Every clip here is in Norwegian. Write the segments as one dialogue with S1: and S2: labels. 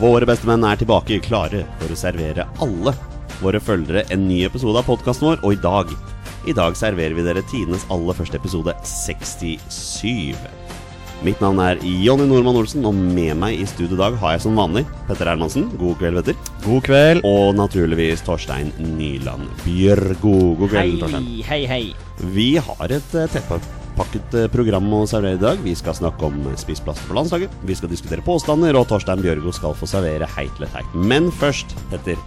S1: Våre bestemenn er tilbake klare for å servere alle våre følgere en ny episode av podkasten vår, og i dag I dag serverer vi dere tidenes aller første episode 67. Mitt navn er Jonny Normann Olsen, og med meg i studio i dag har jeg som vanlig Petter Hermansen. God kveld, Petter.
S2: God kveld.
S1: Og naturligvis Torstein Nyland Bjørgo. God kveld, Torstein.
S3: Hei, hei, hei.
S1: Vi har et eh, tettpakket eh, program å servere i dag. Vi skal snakke om eh, spiseplasser på landslaget. Vi skal diskutere påstander, og Torstein Bjørgo skal få servere heit eller teit. Men først, Petter,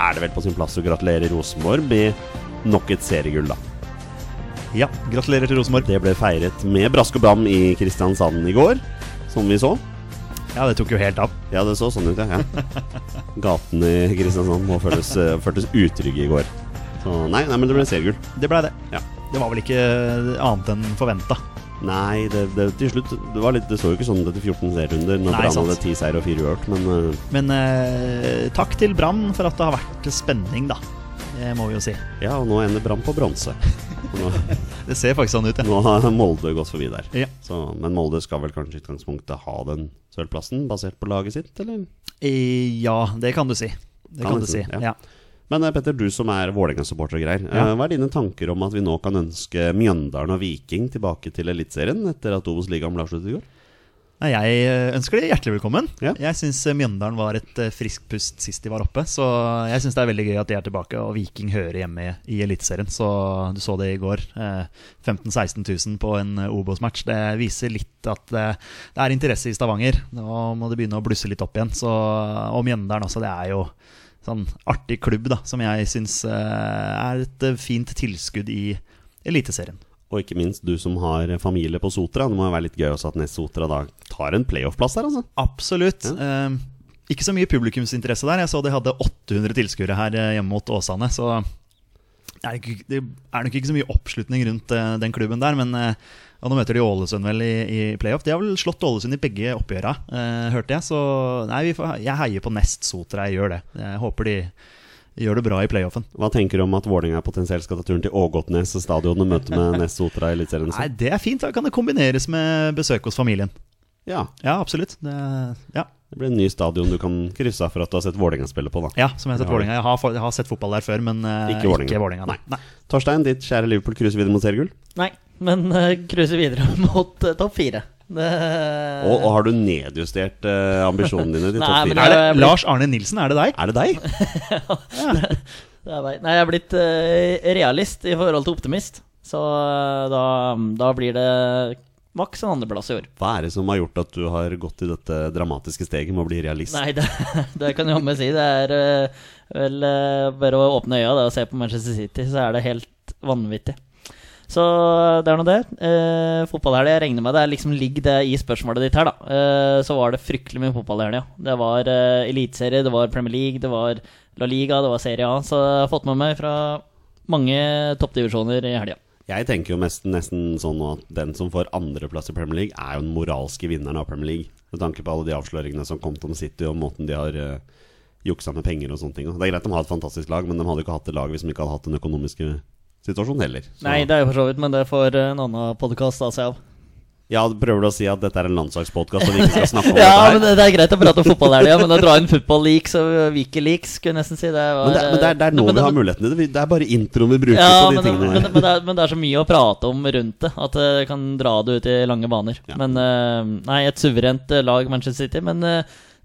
S1: er det vel på sin plass å gratulere Rosenborg med nok et seriegull, da.
S2: Ja, gratulerer til Rosenborg.
S1: Det ble feiret med brask og bram i Kristiansand i går, som vi så.
S2: Ja, det tok jo helt av.
S1: Ja, det så sånn ut, ja. ja. Gatene i Kristiansand må føles, eh, føltes utrygge i går. Så nei, nei, men det ble seriegull.
S2: Det blei det.
S1: Ja.
S2: Det var vel ikke annet enn forventa.
S1: Nei, det, det, til slutt det, var litt, det så jo ikke sånn ut etter 14 serierunder når
S2: Nei,
S1: Brann
S2: sant.
S1: hadde 10 seier og 4 uavgjort, men eh,
S2: Men eh, takk til Brann for at det har vært spenning, da. Det må vi jo si.
S1: ja, og nå ender Brann på bronse. Og Nå,
S2: Det ser faktisk sånn ut, ja.
S1: nå har Molde gått forbi der.
S2: Ja.
S1: Så, men Molde skal vel kanskje i utgangspunktet ha den sølvplassen, basert på laget sitt, eller?
S2: Eh, ja, det kan du si. Det
S1: Kan
S2: kan
S1: du
S2: du si,
S1: si, ja.
S2: ja.
S1: Men eh, Petter, du som er Vålerenga-supporter og greier, eh,
S2: Ja.
S1: hva er dine tanker om at vi nå kan ønske Mjøndalen og Viking tilbake til Eliteserien etter at Obos-ligaen ble avsluttet i går?
S2: Nei, Jeg eh, ønsker de hjertelig velkommen.
S1: Ja.
S2: Jeg syns Mjøndalen var et eh, friskt pust sist de var oppe. Så jeg syns det er veldig gøy at de er tilbake, og Viking hører hjemme i, i Eliteserien. Så du så det i går. eh, 15 000-16 000 på en eh, Obos-match. Det viser litt at eh, det er interesse i Stavanger. Nå må det begynne å blusse litt opp igjen. Så, og Mjøndalen også, det er jo sånn artig klubb da, som jeg syns er et eh, fint tilskudd i Eliteserien.
S1: Og ikke minst du som har familie på Sotra. Det må jo være litt gøy også at Nest Sotra da tar en playoff-plass der, altså.
S2: Absolutt.
S1: Ja.
S2: Eh, ikke så mye publikumsinteresse der. Jeg så de hadde 800 tilskuere her eh, hjemme mot Åsane. Så er det, ikke, det er nok ikke så mye oppslutning rundt eh, den klubben der. Men eh, og nå møter de Ålesund vel i, i playoff. De har vel slått Ålesund i begge oppgjøra, eh, hørte jeg. Så nei, vi får, jeg heier på Nest Sotra. Jeg gjør det. Jeg håper de gjør det bra i playoffen.
S1: Hva tenker du om at Vålerenga potensielt skal ta turen til Ågotnes stadion og møte med Nest Sotra i Eliteserien?
S2: Nei, det er fint. Da kan det kombineres med besøk hos familien.
S1: Ja,
S2: Ja, absolutt. Det, ja.
S1: det blir en ny stadion du kan krysse av for at du har sett Vålerenga spille på, da.
S2: ja, som jeg har sett
S1: Ja.
S2: Vålerenga. Jeg, har fa- jeg har sett fotball der før, men eh,
S1: Ikke Vålerenga.
S2: Ikke Vålerenga nei. nei.
S1: Torstein, ditt kjære Liverpool cruiser videre mot seriegull.
S3: Nei, men uh, cruiser videre mot eh, topp fire. Det,
S1: Og, og har du nedjustert eh, ambisjonene dine til
S3: Nei,
S1: topp
S3: men
S1: fire?
S2: Er
S3: Jeg
S2: det
S3: blir-
S2: Lars Arne Nilsen, er det deg?
S1: Er det deg?
S3: det er meg. Nei, jeg er blitt eh, realist i forhold til optimist. Så eh, da, da blir det maks en andreplass i år.
S1: Hva er det som har gjort at du har gått i dette dramatiske steget med å bli realist?
S3: Nei, det, det kan jeg jammen si. Det er eh, vel eh, bare å åpne øya da, og se på Manchester City, så er det helt vanvittig. Så det er nå det. Uh, fotballhelg, jeg regner med det er liksom ligg det i spørsmålet ditt her, da. Eh, så var det fryktelig mye fotballhelg, ja. Det var uh, eliteserie, det var Premier League, det var La Liga, det var Serie A. Så jeg har fått med meg fra mange toppdivisjoner i helga.
S1: Jeg tenker jo mest, nesten sånn nå at den som får andreplass i Premier League, er jo den moralske vinneren av Premier League. Med tanke på alle de avsløringene som kom til om City, og måten de har eh, juksa med penger og sånne ting. Det er greit de har et fantastisk lag, men de hadde jo ikke hatt det laget hvis de ikke hadde hatt den økonomiske situasjonen heller. Så-
S3: Nei, det er jo for så vidt, men det får en annen podkast ta seg av.
S1: Ja, du prøver å si at dette er en landslagspodkast, og vi ikke skal snakke om
S3: Ja, men
S1: dette her.
S3: det, det er greit å prate om fotball der, ja, men å dra inn football leaks og Vicky leaks, skulle jeg nesten si. Det var,
S1: Men det, er- men det, er, det er nå
S3: men-
S1: vi har muligheten til det. Vi- Det er bare introen vi bruker
S3: Ja,
S1: på de
S3: men,
S1: tingene.
S3: men, men, det er, men det er så mye å prate om rundt det, at det kan dra det ut i lange baner.
S1: Ja.
S3: Men eh, nei, et suverent eh, lag, Manchester City. Men eh,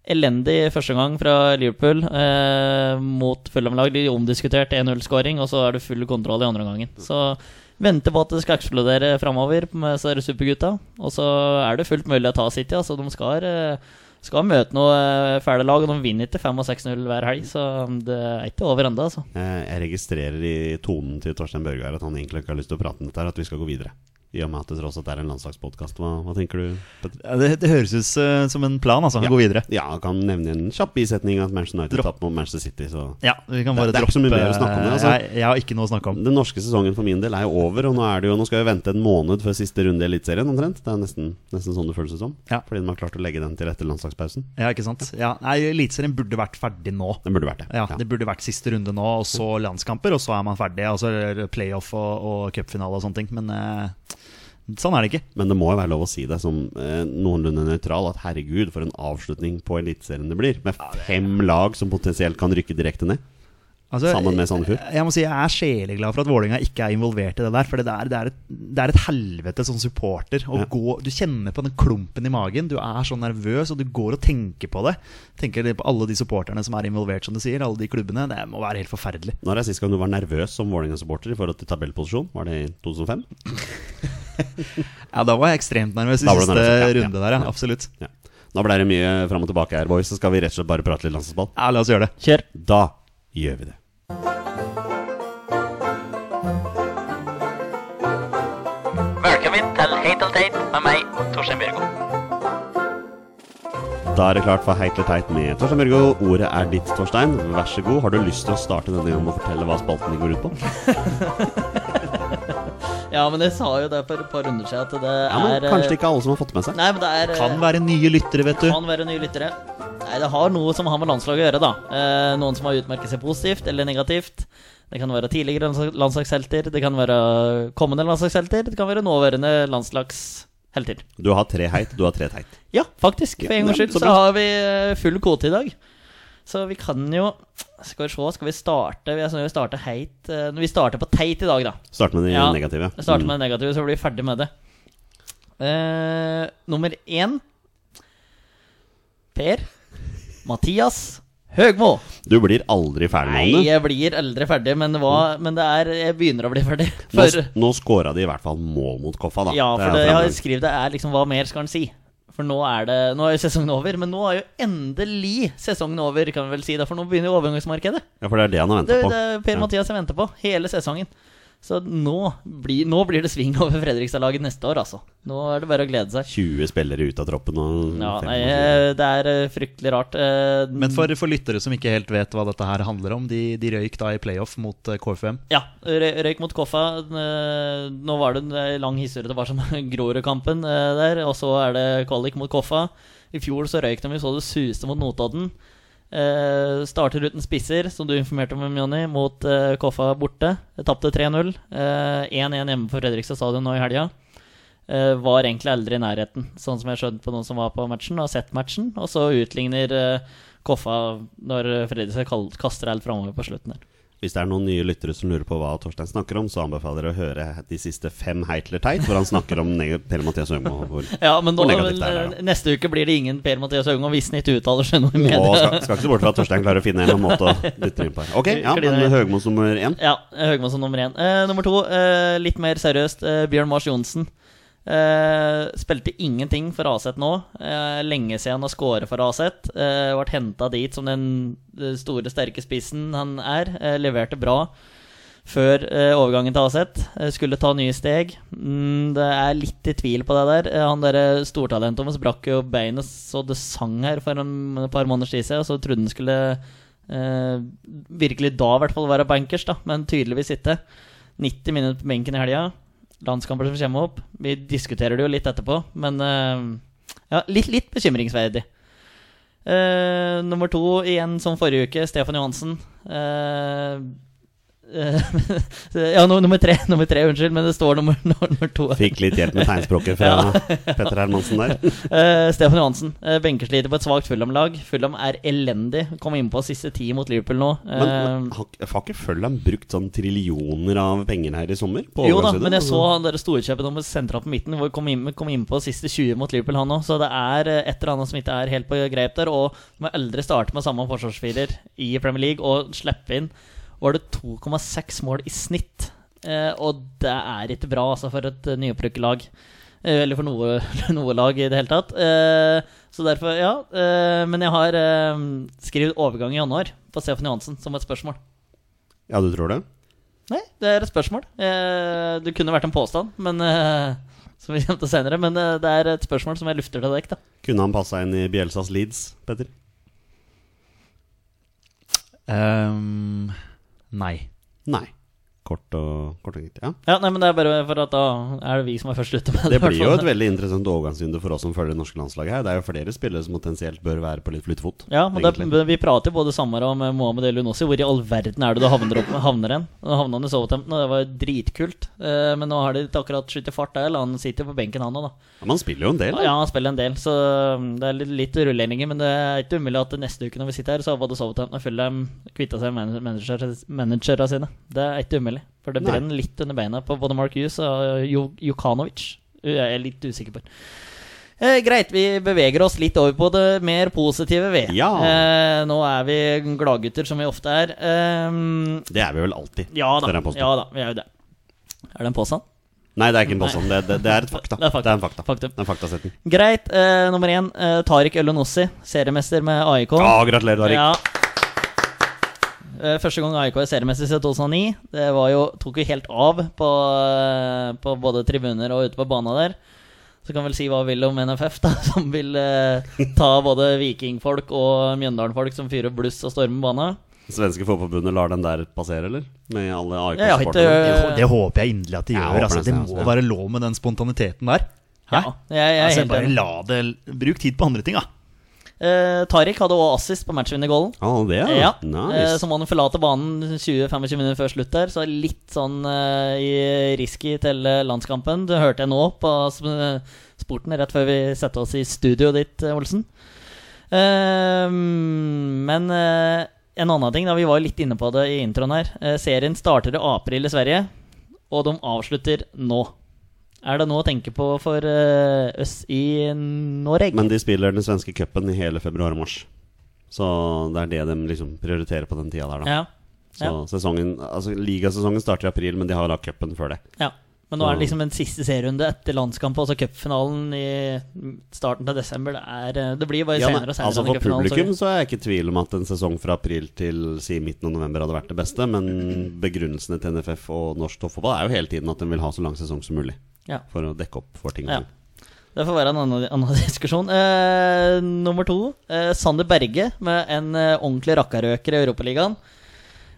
S3: elendig første gang fra Liverpool eh, mot Fulham-lag. Litt Omdiskutert 1-0-skåring, og så er det full kontroll i andre gangen. Så venter på at det skal eksplodere framover med disse supergutta. Og så er det fullt mulig å ta City, altså. De skal eh, skal møte noe eh, fæle lag, og de vinner ikke 5 og 6-0 hver helg, så eh, det er ikke over ennå, altså.
S1: Eh, Jeg registrerer i tonen til Torstein Børge her at han egentlig ikke har lyst til å prate om dette, her, at vi skal gå videre. I og med at det tross alt er en landslagspodkast. Hva, hva tenker du, Petter?
S2: Ja, Det, det høres ut eh, som en plan, altså.
S1: Ja.
S2: Gå videre.
S1: Ja, jeg kan nevne en kjapp bisetning at Manchester United
S2: Dropp.
S1: tapte mot Manchester City. Så
S2: Ja, vi kan bare
S1: Det- det er ikke så mye
S2: droppe- eh,
S1: mer å snakke om det, altså.
S2: jeg, jeg har ikke noe å snakke om.
S1: den norske sesongen for min del er jo over, og nå, er det jo, nå skal vi vente en måned før siste runde i Eliteserien omtrent. Det er nesten, nesten sånn det føles som.
S2: Ja.
S1: Fordi de har klart å legge den til etter landslagspausen.
S2: Ja, ikke sant? Ja, nei, Eliteserien burde vært ferdig nå.
S1: Den burde vært det.
S2: Ja,
S1: Ja.
S2: Det burde vært siste runde nå, og så landskamper, og så er man ferdig. Altså playoff og, og cupfinale og sånne ting. Men eh, Sånn er det ikke.
S1: Men det må jo være lov å si det som eh, noenlunde nøytral at herregud, for en avslutning på Eliteserien det blir. Med fem lag som potensielt kan rykke direkte ned.
S2: Altså,
S1: Sammen med Sandefjord.
S2: Jeg må si jeg er sjeleglad for at Vålerenga ikke er involvert i det der. For det er, det er, et, det er et helvete som supporter å
S1: Ja.
S2: gå Du kjenner på den klumpen i magen. Du er så nervøs, og du går og tenker på det. Tenker litt på alle de supporterne som er involvert, som du sier. Alle de klubbene. Det må være helt forferdelig.
S1: Når er sist gang du var nervøs som Vålerenga-supporter i forhold til tabellposisjon? Var det i 2005?
S2: Ja, da var jeg ekstremt nervøs i
S1: Da var du
S2: siste
S1: nervøs, ja, ja,
S2: runde der, ja.
S1: ja.
S2: Absolutt.
S1: Ja. Da ble det mye fram og tilbake her, boys. Så skal vi rett og slett bare prate litt landslagsball.
S2: Ja, la oss gjøre det.
S3: Kjør.
S1: Da gjør vi det.
S4: Velkommen til Hate og Tate med meg, Torstein Bjørgo.
S1: Da er det klart for Heit eller teit med Torstein Børgo. Ordet er ditt, Torstein. Vær så god. Har du lyst til å starte denne gangen med å fortelle hva spalten din går ut på?
S3: Ja, men jeg sa jo det for et par runder siden at det
S1: Ja, men
S3: er eh,
S1: Kanskje ikke alle som har fått med seg.
S3: Nei, men det er eh,
S2: Kan være nye lyttere, vet du.
S3: Kan være nye lyttere. Nei, det har noe som har med landslaget å gjøre, da. Eh, noen som har utmerket seg positivt eller negativt. Det kan være tidligere landslag- landslagshelter, det kan være kommende landslagshelter, det kan være nåværende landslagshelter.
S1: Du har tre heit, du har tre teit.
S3: Ja, faktisk. For
S1: Ja,
S3: en
S1: ja,
S3: gangs skyld
S1: så
S3: så
S1: bra.
S3: har vi eh, full kvote i dag. Så vi kan jo Skal vi se, skal vi starte Jeg synes vi starter heit eh, Vi starter på teit i dag, da.
S1: Start med det
S3: Ja,
S1: negative. Mm.
S3: Jeg starter med det negative, så blir vi ferdig med det. Eh, nummer én Per Mathias Høgmo.
S1: Du blir aldri ferdig
S3: Nei,
S1: med det.
S3: jeg blir aldri ferdig, men, hva, men det er, jeg begynner å bli ferdig.
S1: Nå,
S3: For,
S1: nå scora de i hvert fall mål mot Koffa, da.
S3: ja,
S1: er
S3: for det, jeg har
S1: fremragende.
S3: skrevet det er liksom Hva mer skal han si? For nå er det Nå er jo sesongen over, men nå er jo endelig sesongen over, kan vi vel si. da, For nå begynner jo overgangsmarkedet.
S1: ja, for det er det han har
S3: Det,
S1: venta på.
S3: det er Per
S1: Ja.
S3: Mathias jeg venter på hele sesongen. Så nå blir, nå blir det sving over Fredrikstad-laget neste år, altså. Nå er det bare å glede seg.
S1: 20 spillere ut av troppen og
S3: Ja,
S1: Mm, fem-
S3: nei, eh, det er eh, fryktelig rart. eh,
S2: Men for, for lyttere som ikke helt vet hva dette her handler om, de, de røyk da i playoff mot eh, KFUM.
S3: Ja, røy- røyk mot Koffa. eh, Nå var det en eh, lang historie tilbake om Grorud-kampen eh, der, og så er det kvalik mot Koffa. I fjor så røyk de, vi så det suste mot Notodden. Eh, starter uten spisser, som du informerte om, Jonny, mot eh, Koffa borte. Tapte 3-0. Eh, 1-1 hjemme på Fredrikstad stadion nå i helga. Eh, var egentlig aldri i nærheten, sånn som jeg skjønte på noen som var på matchen og har sett matchen. Og så utligner eh, Koffa når Fredrikstad kal- kaster alt framover på slutten der.
S1: Hvis det er noen nye lyttere som lurer på hva Torstein snakker om, så anbefaler jeg å høre de siste fem Heitler Teit, hvor han snakker om neg- Per-Mathias Høgmo. Hvor...
S3: Ja, men nå,
S1: Hvor negativt det er,
S3: vel,
S1: da.
S3: neste uke blir det ingen Per Mathias Høgmo hvis han ikke uttaler seg noe i
S1: Og
S3: media.
S1: skal, skal ikke se bort fra at Torstein klarer å finne en eller annen måte å dytte inn på. her. Ok, ja, men Høgmo som nummer én.
S3: Ja, Høgmo som nummer én. Eh, nummer to, eh, litt mer seriøst, eh, Bjørn Mars Johnsen. Eh, spilte ingenting for Aset nå. Eh, lenge siden han har skåret for Aset. Eh, ble henta dit som den eh, store, sterke spissen han er. Eh, leverte bra før eh, overgangen til Aset. Eh, skulle ta nye steg. Mm, det er litt i tvil på det der. Eh, han derre stortalentet hans brakk jo beinet så det sang her for en, et par måneders tid siden, og så trodde han skulle Eh, virkelig da i hvert fall være bankers, da, men tydeligvis ikke. 90 minutter på benken i helga. Landskamper som kommer opp. Vi diskuterer det jo litt etterpå, men eh, ja, litt, litt bekymringsverdig. Eh, nummer to igjen som forrige uke, Stefan Johansen. Eh, eh, ja, nu- nummer tre, nummer tre, unnskyld, men det står nummer, nummer to.
S1: Fikk litt hjelp med tegnspråket fra Petter Hermansen der.
S3: Eh, Stefan Johansen, uh, benkersliter på et svakt Fulham-lag. Fulham er elendig. Kom innpå siste ti mot Liverpool nå.
S1: Men,
S3: Eh,
S1: men har, har ikke Følland brukt sånn trillioner av penger her i sommer? På altså.
S3: Jo da,
S1: overgangsvinduet?
S3: men jeg så han der storkjøpet om sentra på midten. Hvor kom inn, kom inn på siste 20 mot Liverpool, han òg. Så det er eh, et eller annet som ikke er helt på greip der. Og de må aldri starte med samme forsvarsfirer i Premier League og slippe inn Var det 2,6 mål i snitt? Eh, og det er ikke bra, altså, for et eh, nyopprykket lag. Eh, Eller for noe, noe lag i det hele tatt. Eh, så derfor, ja. Eh, men jeg har eh, skrevet overgang i januar på Stefan Johansen som et spørsmål.
S1: Ja, du tror det?
S3: Nei, det er et spørsmål. Eh, det kunne vært en påstand, men eh, som vi kommer til senere. Men eh, det er et spørsmål som jeg lufter til deg. da
S1: Kunne han passa inn i Bjelsas Leeds, Petter?
S2: Ehm, nei.
S1: Nei. Kort og, kort og greit. Ja.
S3: Ja, nei, men det er bare for at da er det vi som er først ute med
S1: Det
S3: i hvert
S1: blir jo
S3: fall.
S1: et veldig interessant overgangsvindu for oss som følger det norske landslaget her. Det er jo flere spillere som potensielt bør være på litt flyttefot.
S3: Ja, men det,
S1: egentlig.
S3: men vi prater jo både Samara og eh, med Mohamed Elunossi. Hvor i all verden er det du havner, opp, havner hen? Nå havna han i Southampton, og det var jo dritkult. Eh, men nå har de ikke akkurat skutt i fart der. eller Han sitter jo på benken, han òg, da.
S1: Ja, Man spiller jo en del. da.
S3: Ja, han spiller en del, så um, det er litt, litt rullendinger. Men det er ikke umulig at neste uke når vi sitter her, så har både Southampton og Fulham kvitta seg med manager- managerne sine. Det er ikke umulig. For det
S1: Nei.
S3: brenner litt under beina på både Mark Hughes og Jo- Jokanovic. Jeg er litt usikker på. Eh, greit, vi beveger oss litt over på det mer positive, vi.
S1: Ja.
S3: Eh, nå er vi gladgutter, som vi ofte er. Eh,
S1: Det er vi vel alltid.
S3: ja da.
S1: Det er en påstand.
S3: Ja da, vi er jo det. Er det en påstand?
S1: Nei, det er ikke en påstand. Det, det, det er et fakta.
S3: Det er fakta.
S1: en fakta.
S3: Faktum.
S1: Det er en faktasetning.
S3: Greit. Eh, nummer én, eh, Tariq Ølonossi, seriemester med AIK.
S1: Å, gratulerer, Darik.
S3: Ja. Eh, Første gang AIK er seriemester siden 2009. Det var jo, tok jo helt av på, eh, på både tribuner og ute på banen der. Så kan vel si hva vi vil om NFF, da, som vil eh, ta både vikingfolk og mjøndalenfolk som fyrer bluss og stormer banen.
S1: Svenske Fotballforbundet lar den der passere, eller? Med alle
S3: Jeg har ikke
S1: AIK-sporterne.
S2: Det håper jeg inderlig at de
S1: Jeg
S2: gjør.
S1: håper
S2: Altså,
S1: det
S2: det
S1: samme,
S2: må
S1: ja.
S2: være lov med den spontaniteten der. Hæ?
S3: Ja, jeg, jeg er
S2: altså,
S3: helt
S2: bare
S3: enig.
S2: la det Bruk tid på andre ting, da.
S3: Eh, Tariq hadde også assist på matchvinnergålen.
S1: Å, det, ja.
S3: Ja, eh,
S1: Nice.
S3: så må han forlate banen 20-25 minutter før slutt der, så litt sånn eh, i risky til eh, landskampen. Det hørte jeg nå på sp- sporten rett før vi satte oss i studio ditt, eh, Olsen. Eh, men eh, en annen ting, da vi var jo litt inne på det i introen her. Eh, serien starter i april i Sverige, og de avslutter nå. Er det noe å tenke på for eh, oss i Norge?
S1: Men de spiller den svenske cupen i hele februar og mars. Så det er det de liksom prioriterer på den tida der, da.
S3: ja.
S1: Så sesongen, altså Ligasesongen starter i april, men de har da cupen før det.
S3: Ja, men nå er det liksom en siste serierunde etter landskampen, altså cupfinalen i starten av desember. Det, er, eh, det blir bare
S1: Ja, nei,
S3: senere og senere.
S1: altså
S3: enn
S1: For
S3: cupfinalen,
S1: publikum
S3: sorry.
S1: så er jeg ikke i tvil om at en sesong fra april til si midten av november hadde vært det beste, men begrunnelsene til NFF og norsk toppfotball er jo hele tiden at de vil ha så lang sesong som mulig.
S3: Ja.
S1: For å dekke opp for ting. og
S3: Ja.
S1: ting.
S3: Det får være en annen, annen diskusjon. Eh, nummer to, eh, Sander Berge med en eh, ordentlig rakkarøker i Europaligaen.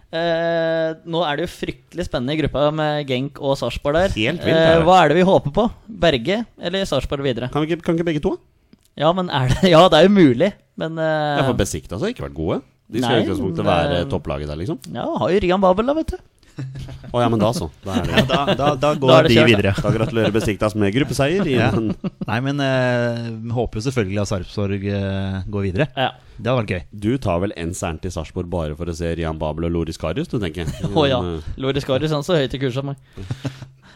S3: Eh, nå er det jo fryktelig spennende i gruppa med Genk og Sarpsborg der. Eh,
S1: Helt vilt, det er.
S3: hva er det vi håper på? Berge eller Sarpsborg videre?
S1: Kan, vi ikke, kan ikke begge to? da?
S3: Ja, men er det, ja, det er jo mulig, men eh,
S1: Ja, for Besiktas har ikke vært gode. De skal
S3: Nei,
S1: i utgangspunktet
S3: men-
S1: være topplaget der, liksom.
S3: ja, har jo Rian Babel, da, vet du.
S1: Å ja, men da så. Da, er det.
S2: Da, da, da går
S3: Da er det
S2: de
S3: kjørt, da.
S2: videre.
S1: da gratulerer Besiktas med gruppeseier. I
S2: Ja.
S1: en,
S2: Nei, men eh, håper jo selvfølgelig at Sarpsborg eh, går videre.
S3: Ja.
S2: Det hadde vært gøy.
S1: du tar vel en særen til Sarpsborg bare for å se Rian Babel og Loris Karius, du tenker?
S3: Å ja.
S1: Mm.
S3: Loris Karius han så høyt i kurs som meg.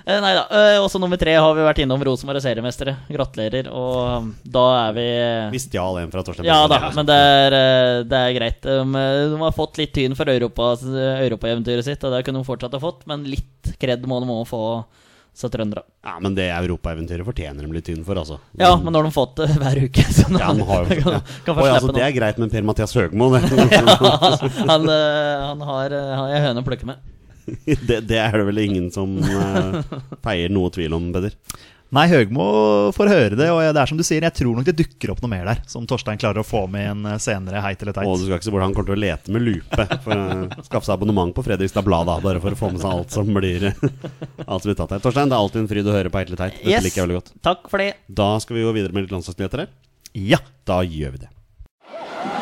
S3: Eh, Nei da. eh, Også nummer tre har vi vært innom Rosenborg er seriemestere. Gratulerer. Og um, da er vi
S1: eh, Vi sånn, stjal en fra Torstein
S3: Ja
S1: Bjørnsen.
S3: da, men det er, eh, det er greit. Um, eh, De har fått litt tyn for Europas- europaeventyret sitt, og det kunne de fortsatt ha fått, men litt kred må de òg få, sa trøndere.
S1: Ja, men det europaeventyret fortjener de litt tynn for, altså.
S3: Ja, men nå har de fått det hver uke, så nå
S1: Ja, de har jo
S3: kan,
S1: ja.
S3: kan
S1: Oi,
S3: få
S1: altså,
S3: slippe
S1: Det
S3: noe.
S1: er greit med Per-Mathias Høgmo, det.
S3: Han, eh, han har eh, han har en høne å plukke med.
S1: det. Det er det vel ingen som eh, feier noe tvil om, Peder.
S2: Nei, Høgmo får høre det, og det er som du sier, jeg tror nok det dukker opp noe mer der. Som Torstein klarer å få med en eh, senere heit eller
S1: Og
S2: teit.
S1: du skal ikke se hvordan han kommer til å lete med lupe for å skaffe seg abonnement på Fredrikstad Blad, da, bare for å få med seg alt som blir Alt som blir tatt her. Torstein, det er alltid en fryd å høre på Eitle Teit. Dette
S3: Yes.
S1: liker jeg veldig godt.
S3: Takk for det.
S1: Da skal vi gå videre med litt landslagsnyheter her.
S2: Ja,
S1: Da gjør vi det.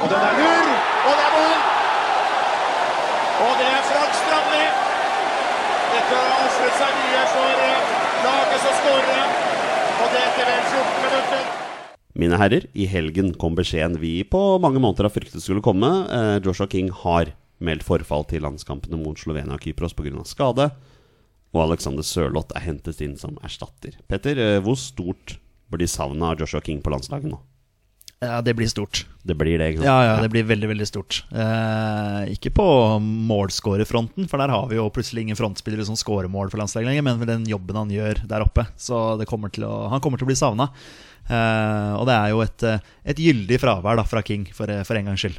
S5: Og den er lur, og det er mål! Og det er Frank Strandli. Dette har ofret seg mye for eh, laget som skårer. Og det etter vel 14 minutter.
S1: Mine herrer, i helgen kom beskjeden vi på mange måneder har fryktet skulle komme. Eh, Joshua King har meldt forfall til landskampene mot Slovenia og Kypros pga. skade. Og Alexander Sørloth er hentet inn som erstatter. Petter, eh, hvor stort blir savnet av Joshua King på landslaget nå?
S2: ja det blir stort.
S1: Det blir det, ikke sant?
S2: Ja, ja, det blir veldig, veldig stort. Eh, ikke på målskårerfronten, for der har vi jo plutselig ingen frontspillere som skårer mål for landslaget lenger, men for den jobben han gjør der oppe. Så det kommer til å, han kommer til å bli savna. Eh, og det er jo et, eh, et gyldig fravær da, fra King, for, eh, for en gangs skyld.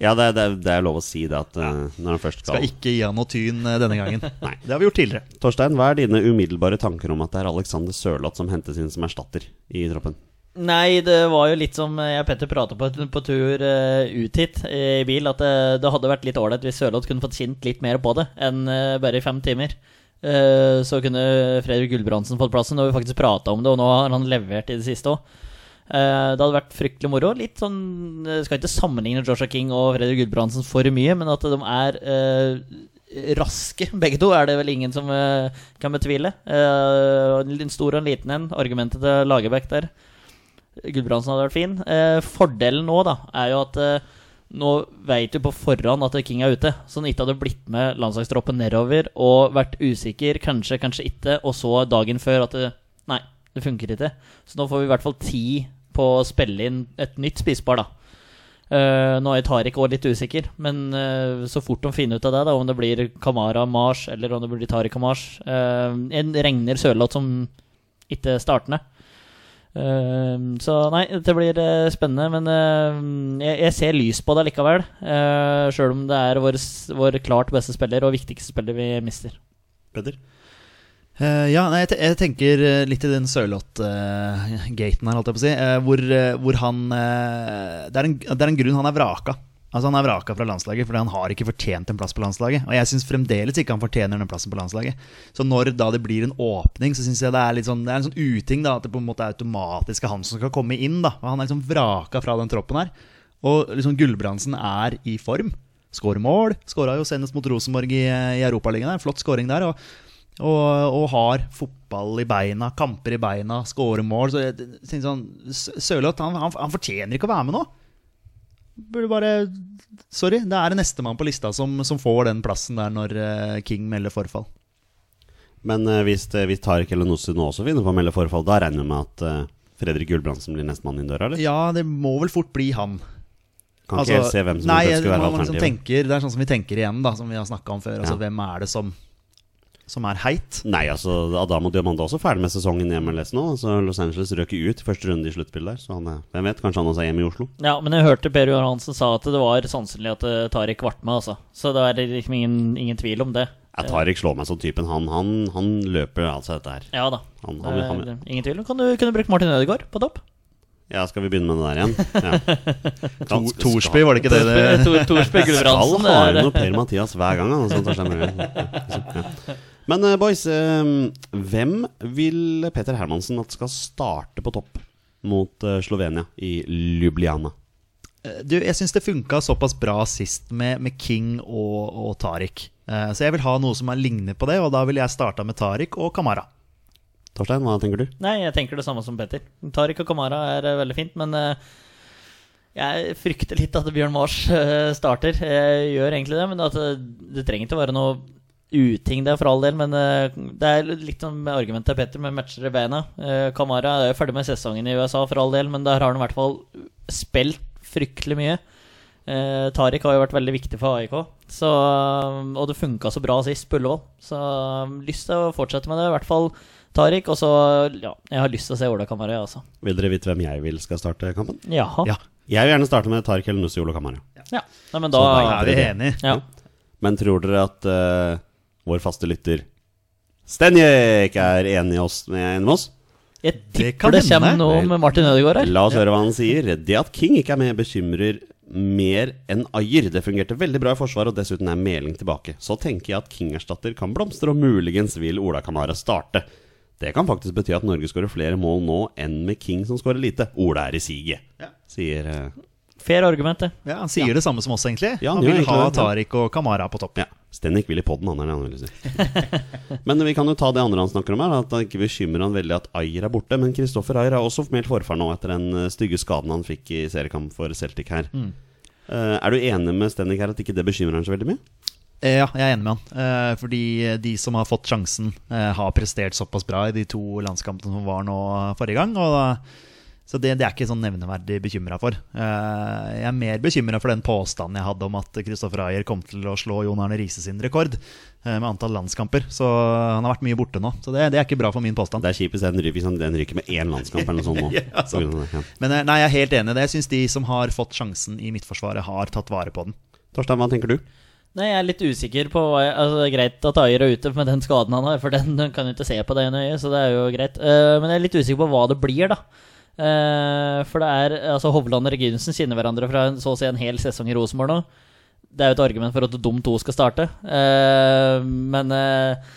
S1: Ja, det, er- det, er- det er lov å si det at eh, når han først skal
S2: Skal ikke gi han noe tyn eh, denne gangen.
S1: Nei.
S2: Det har vi gjort tidligere.
S1: Torstein, hva er dine umiddelbare tanker om at det er Alexander Sørloth som hentes inn som erstatter i troppen?
S3: Nei, det var jo litt som eh, jeg og Petter prata på på tur eh, ut hit eh, i bil, at det, det hadde vært litt ålreit hvis Sørloth kunne fått kjent litt mer på det enn eh, bare i fem timer. Eh, så kunne Fredrik Gulbrandsen fått plassen, og vi faktisk prata om det, og nå har han levert i det siste òg. det hadde vært fryktelig moro. Litt sånn eh, Skal ikke sammenligne Joshua King og Fredrik Gulbrandsen for mye, men at de er eh, raske, begge to, er det vel ingen som eh, kan betvile. Eh, en stor og en liten en. Argumentet til Lagerbäck der. Gudbrandsen hadde vært fin. Eh, fordelen nå da, er jo at eh, nå vet du på forhånd at King er ute, så han ikke hadde blitt med landslagstroppen nedover og vært usikker, kanskje, kanskje ikke, og så dagen før at det, nei, det funker ikke. Så nå får vi i hvert fall tid på å spille inn et nytt spisepar, da. Eh, nå er Tariq også litt usikker, men eh, så fort de finner ut av det, da, om det blir Kamara Mars eller om det blir Tariq Mars uh, En regner Sørloth som ikke startende. Ehm, så nei, det blir eh, spennende, men eh, jeg, jeg ser lys på det likevel. Uh, Sjøl om det er vår, s- vår klart beste spiller og viktigste spiller vi mister.
S1: Peder?
S2: Eh, ja, nei, jeg, te jeg tenker eh, litt i den Sørloth-gaten her, holdt jeg på å si. eh, hvor, eh, hvor han eh, det, er en, det er en grunn han er vraka. Altså Han er vraka fra landslaget fordi han har ikke fortjent en plass på landslaget. Og jeg syns fremdeles ikke han fortjener den plassen på landslaget. Så når da det blir en åpning, så syns jeg det er litt sånn Det er en sånn uting da at det på en måte er automatisk er han som skal komme inn. da Og Han er liksom vraka fra den troppen her. Og liksom Gulbrandsen er i form. Skårer mål. Skåra jo senest mot Rosenborg i, eh, i Europaligaen. der. Flott skåring der. Og og, og har fotball i beina, kamper i beina, scorer mål. Så jeg tenker sånn, S- Sørloth han, han, han fortjener ikke å være med nå. Burde bare Sorry, det er nestemann på lista som, som får den plassen der når eh, King melder forfall.
S1: Men eh, hvis, det, hvis Tariq eller Nossi nå også finner på å melde forfall, da regner jeg med at eh, Fredrik Gulbrandsen blir nestemann inn døra, eller?
S2: Ja, det må vel fort bli han.
S1: Kan
S2: Altså,
S1: ikke helt se hvem som
S2: nei,
S1: eventuelt skulle være
S2: man liksom
S1: alternativet.
S2: tenker, Det er sånn som vi tenker igjen, da, som vi har snakka om før. Altså,
S1: Ja.
S2: Hvem er det som, som er heit?
S1: Nei, altså Adamo Diamanda er også ferdig med sesongen i MLS nå. Så Los Angeles røk jo ut i første runde i sluttspillet der. Så han er, hvem vet, kanskje han også er hjemme i Oslo.
S3: Ja, men jeg hørte Per Johan Hansen sa at det var sannsynlig at eh, Tariq ble med, altså. Så det er liksom ingen, ingen tvil om det.
S1: Jeg Tariq slår meg som typen. Han, han, han løper altså dette her.
S3: Ja da.
S1: Han, han, han,
S3: Eh, ingen tvil. Kan du kunne brukt Martin Ødegaard på topp?
S1: ja, skal vi begynne med det der igjen? Ja. Skal- skal-
S2: Torsby, var det ikke det? det?
S3: Tor- Torsby
S1: Skal
S3: Gulbrandsen.
S1: ha
S3: det
S1: inn
S3: er-
S1: noe Per Mathias hver gang. Han, sånn, tar seg med. Ja. Men eh, boys, eh, hvem vil Peter Hermansen at skal starte på topp mot eh, Slovenia i Ljubljana?
S2: Eh, Du, jeg syns det funka såpass bra sist med, med King og, og Tariq. Eh, Så jeg vil ha noe som er lignende på det, og da ville jeg starta med Tariq og Kamara.
S1: Torstein, hva tenker du?
S3: Nei, jeg tenker det samme som Petter. Tariq og Kamara er eh, veldig fint, men eh, jeg frykter litt at Bjørn Mars eh, starter. Jeg gjør egentlig det, men at det, det trenger ikke være noe uting der for all del. Men eh, det er litt som med argumentet til Petter med matcher i beina. Eh, Kamara er jo ferdig med sesongen i USA for all del, men der har han i hvert fall spilt fryktelig mye. Eh, Tariq har jo vært veldig viktig for AIK, så, eh, og det funka så bra sist på Ullevål. Så um, lyst til å fortsette med det, i hvert fall Tariq. Og så, ja, jeg har lyst til å se Ola Kamara, jeg også.
S1: Vil dere vite hvem jeg vil skal starte kampen?
S3: Jaha.
S2: Ja,
S1: Jeg vil gjerne starte med Tariq El Nussi Olo Kamara.
S3: Ja. Nei, men da
S1: Så
S2: Er vi enige?
S3: ja.
S1: Men tror dere at eh, vår faste lytter Stenjek er enig i oss, med enig med oss?
S3: Jeg
S2: Det
S3: tipper
S2: kan
S3: det,
S2: hende.
S3: kommer noe med Martin Ødegaard her.
S1: La oss høre hva han sier. Det at King ikke er med, bekymrer mer enn Ayer. Det fungerte veldig bra i forsvaret, og dessuten er Meling tilbake. Så tenker jeg at King-erstatter kan blomstre, og muligens vil Ola Kamara starte. Det kan faktisk bety at Norge skårer flere mål nå enn med King som skårer lite. Ola er i siget, sier eh,
S3: Fair argument, det.
S2: Ja, Han sier det samme som oss, egentlig.
S1: Ja, han
S2: han
S1: gjør
S2: vil ha
S1: egentlig det, ja.
S2: Tariq og Kamara på topp.
S1: Ja. Stenik vil i podden, han er det han vil si. Men vi kan jo ta det andre han snakker om her, at det ikke bekymrer han veldig at Ayer er borte. Men Kristoffer Ayer er også meldt forfar nå etter den eh, stygge skaden han fikk i seriekamp for Celtic her. Eh, er du enig med Stenik her at ikke det bekymrer han så veldig mye?
S2: Eh, Ja, jeg er enig med han. Eh, Fordi de som har fått sjansen, eh, har prestert såpass bra i de to landskampene som var nå eh, forrige gang. Og da, så det, det er jeg ikke sånn nevneverdig bekymra for. Eh, Jeg er mer bekymra for den påstanden jeg hadde om at Kristoffer Ayer kom til å slå Jon Arne Riise sin rekord eh, med antall landskamper. Så han har vært mye borte nå. Så det, det er ikke bra for min påstand.
S1: Det er kjipt hvis den ry- hvis han- den ryker med én landskamp eller noe sånt nå.
S2: Ja,
S1: På grunn av det, ja.
S2: Men eh, nei, jeg er helt enig i det. Jeg syns de som har fått sjansen i Midtforsvaret, har tatt vare på den.
S1: Torstein, hva tenker du?
S3: Nei, jeg er litt usikker på hva jeg, altså, Det er greit at Ayer er ute med den skaden han har, for den, den kan jo ikke se på det ene øyet, så det er jo greit. Eh, men jeg er litt usikker på hva det blir, da. Eh, for det er altså Hovland og Reginsen kjenner hverandre fra en, så å si en hel sesong i Rosenborg nå. Det er jo et argument for at de to skal starte. Eh, men eh,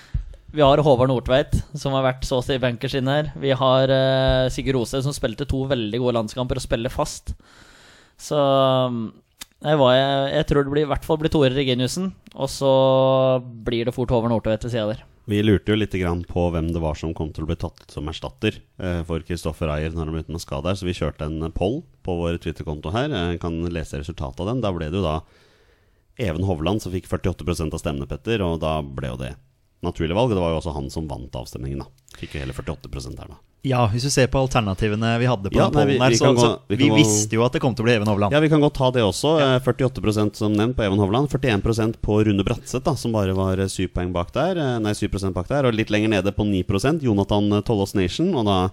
S3: vi har Håvard Nordtveit, som har vært så å si bankers inn her. Vi har eh, Sigurd Rose, som spilte to veldig gode landskamper og spiller fast. Så mm, nei, hva jeg, jeg tror det blir, i hvert fall blir Tore Reginiussen. Og så blir det fort Håvard Nordtveit ved sida der.
S1: Vi lurte jo litt grann på hvem det var som kom til å bli tatt ut som erstatter eh, for Kristoffer Ayer når han ble ute med skade her, så vi kjørte en eh, poll på vår Twitter-konto her. Jeg kan lese resultatet av den. Da ble det jo da Even Hovland som fikk 48 av stemmene, Petter, og da ble jo det naturlig valg. Og det var jo også han som vant avstemningen, da. Fikk jo hele 48 her, da.
S2: Ja, hvis du ser på alternativene vi hadde på
S1: Ja,
S2: den
S1: nei, vi-
S2: pollen her,
S1: vi
S2: så,
S1: kan gå-
S2: så
S1: vi
S2: vi,
S1: kan gå-
S2: visste jo at det kom til å bli Even Hovland.
S1: Ja, vi kan godt ta det også. Eh, 48 som nevnt på Even Hovland. 41 på Rune Bratseth, da, som bare var eh, syv poeng bak der. Eh, Nei, 7 bak der. Og litt lenger nede på 9 Jonathan eh, Tollås Nation. Og da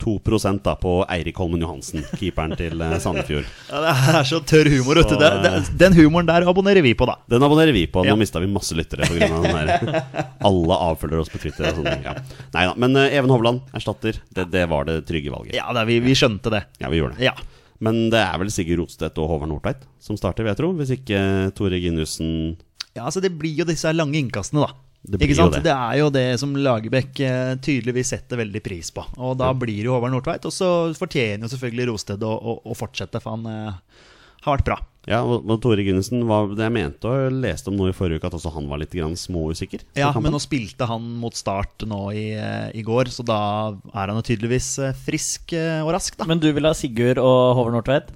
S1: 2 da på Eirik Holmen Johansen, keeperen til eh, Sandefjord.
S2: Ja, det er så tørr humor, vet du.
S1: Så-
S2: Det- det- Den humoren der abonnerer vi på, da.
S1: Den abonnerer vi på. Nå
S2: Ja.
S1: mistet mista vi masse lyttere pga. den her. Alle avfølger oss på Twitter og sånne ting. Ja. Nei da. Men eh, Even Hovland erstatter. Det, det var det trygge valget.
S2: Ja, det er, vi, vi skjønte det.
S1: Ja, vi gjorde det.
S2: Ja.
S1: Men det er vel Sigurd Rotstedt og Håvard Nordtveit som starter, vil jeg tro. Hvis ikke eh, Tore Ginussen
S2: ja, altså Det blir jo disse her lange innkastene, da.
S1: Det blir
S2: Ikke sant?
S1: jo det.
S2: det er jo det som Lagerbäck eh, tydeligvis setter veldig pris på. Og da blir jo Håvard Nordtveit. Og så fortjener jo selvfølgelig Rosted å, å, å fortsette, for han eh, har vært bra.
S1: Ja, og og Tore Gunnesen var det jeg mente og leste om nå i forrige uke, at også han var litt grann småusikker. for
S2: Ja,
S1: kampen.
S2: Men nå spilte han mot start nå i, eh, i går, så da er han jo tydeligvis eh, frisk eh, og rask, da.
S3: Men du vil ha Sigurd og Håvard Nordtveit?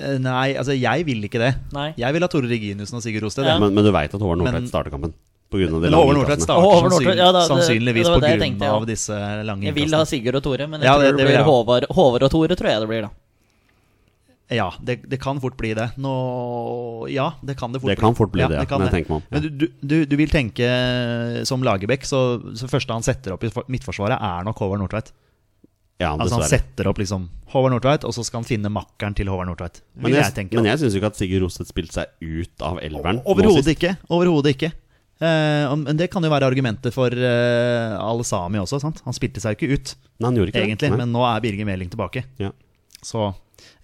S2: Eh, Nei, altså jeg vil ikke det.
S3: Nei.
S2: Jeg vil ha Tore Reginussen og Sigurd Rosted.
S3: Ja.
S2: jeg.
S1: men, men du veit at Håvard Nordtveit
S2: Men-
S1: starter kampen? På grunn av
S2: Men
S1: de lange
S2: Håvard Nordtveit
S1: utkastene.
S2: starter
S3: Å, Håvard
S2: sannsyn-
S3: Nordtveit, ja, da, det-
S2: sannsynligvis
S3: det var det jeg
S2: på grunn
S3: tenkte, ja.
S2: av disse lange
S3: Jeg vil ha
S2: innkastene.
S3: Sigurd og Tore, men jeg
S2: Ja,
S3: tror
S2: det-
S3: det,
S2: det vil
S3: blir
S2: jeg ha.
S3: Håvard, Håvard og Tore, tror jeg det blir, da.
S2: Ja, det, det kan fort bli det. Nå, ja, det kan det fort
S1: Det kan fort bli det, ja,
S2: kan
S1: når jeg tenker meg om.
S2: Men du, du, du, du vil tenke eh, som Lagerbäck, så, så første han setter opp i for- midtforsvaret, er nok Håvard Nordtveit.
S1: Ja,
S2: Altså Han
S1: dessverre.
S2: setter opp liksom Håvard Nordtveit, og så skal han finne makkeren til Håvard Nordtveit.
S1: Men
S2: Vil jeg,
S1: jeg,
S2: tenke.
S1: men
S2: da.
S1: jeg syns jo ikke at Sigurd Roseth spilte seg ut av elveren. nå sist.
S2: Overhodet ikke. Overhodet ikke. Eh, om- men det kan jo være argumentet for eh, Alesami også. sant? Han spilte seg jo ikke ut,
S1: Nei, han gjorde ikke
S2: egentlig,
S1: det. Nei.
S2: men nå er Birger Meling tilbake.
S1: Ja.
S2: Så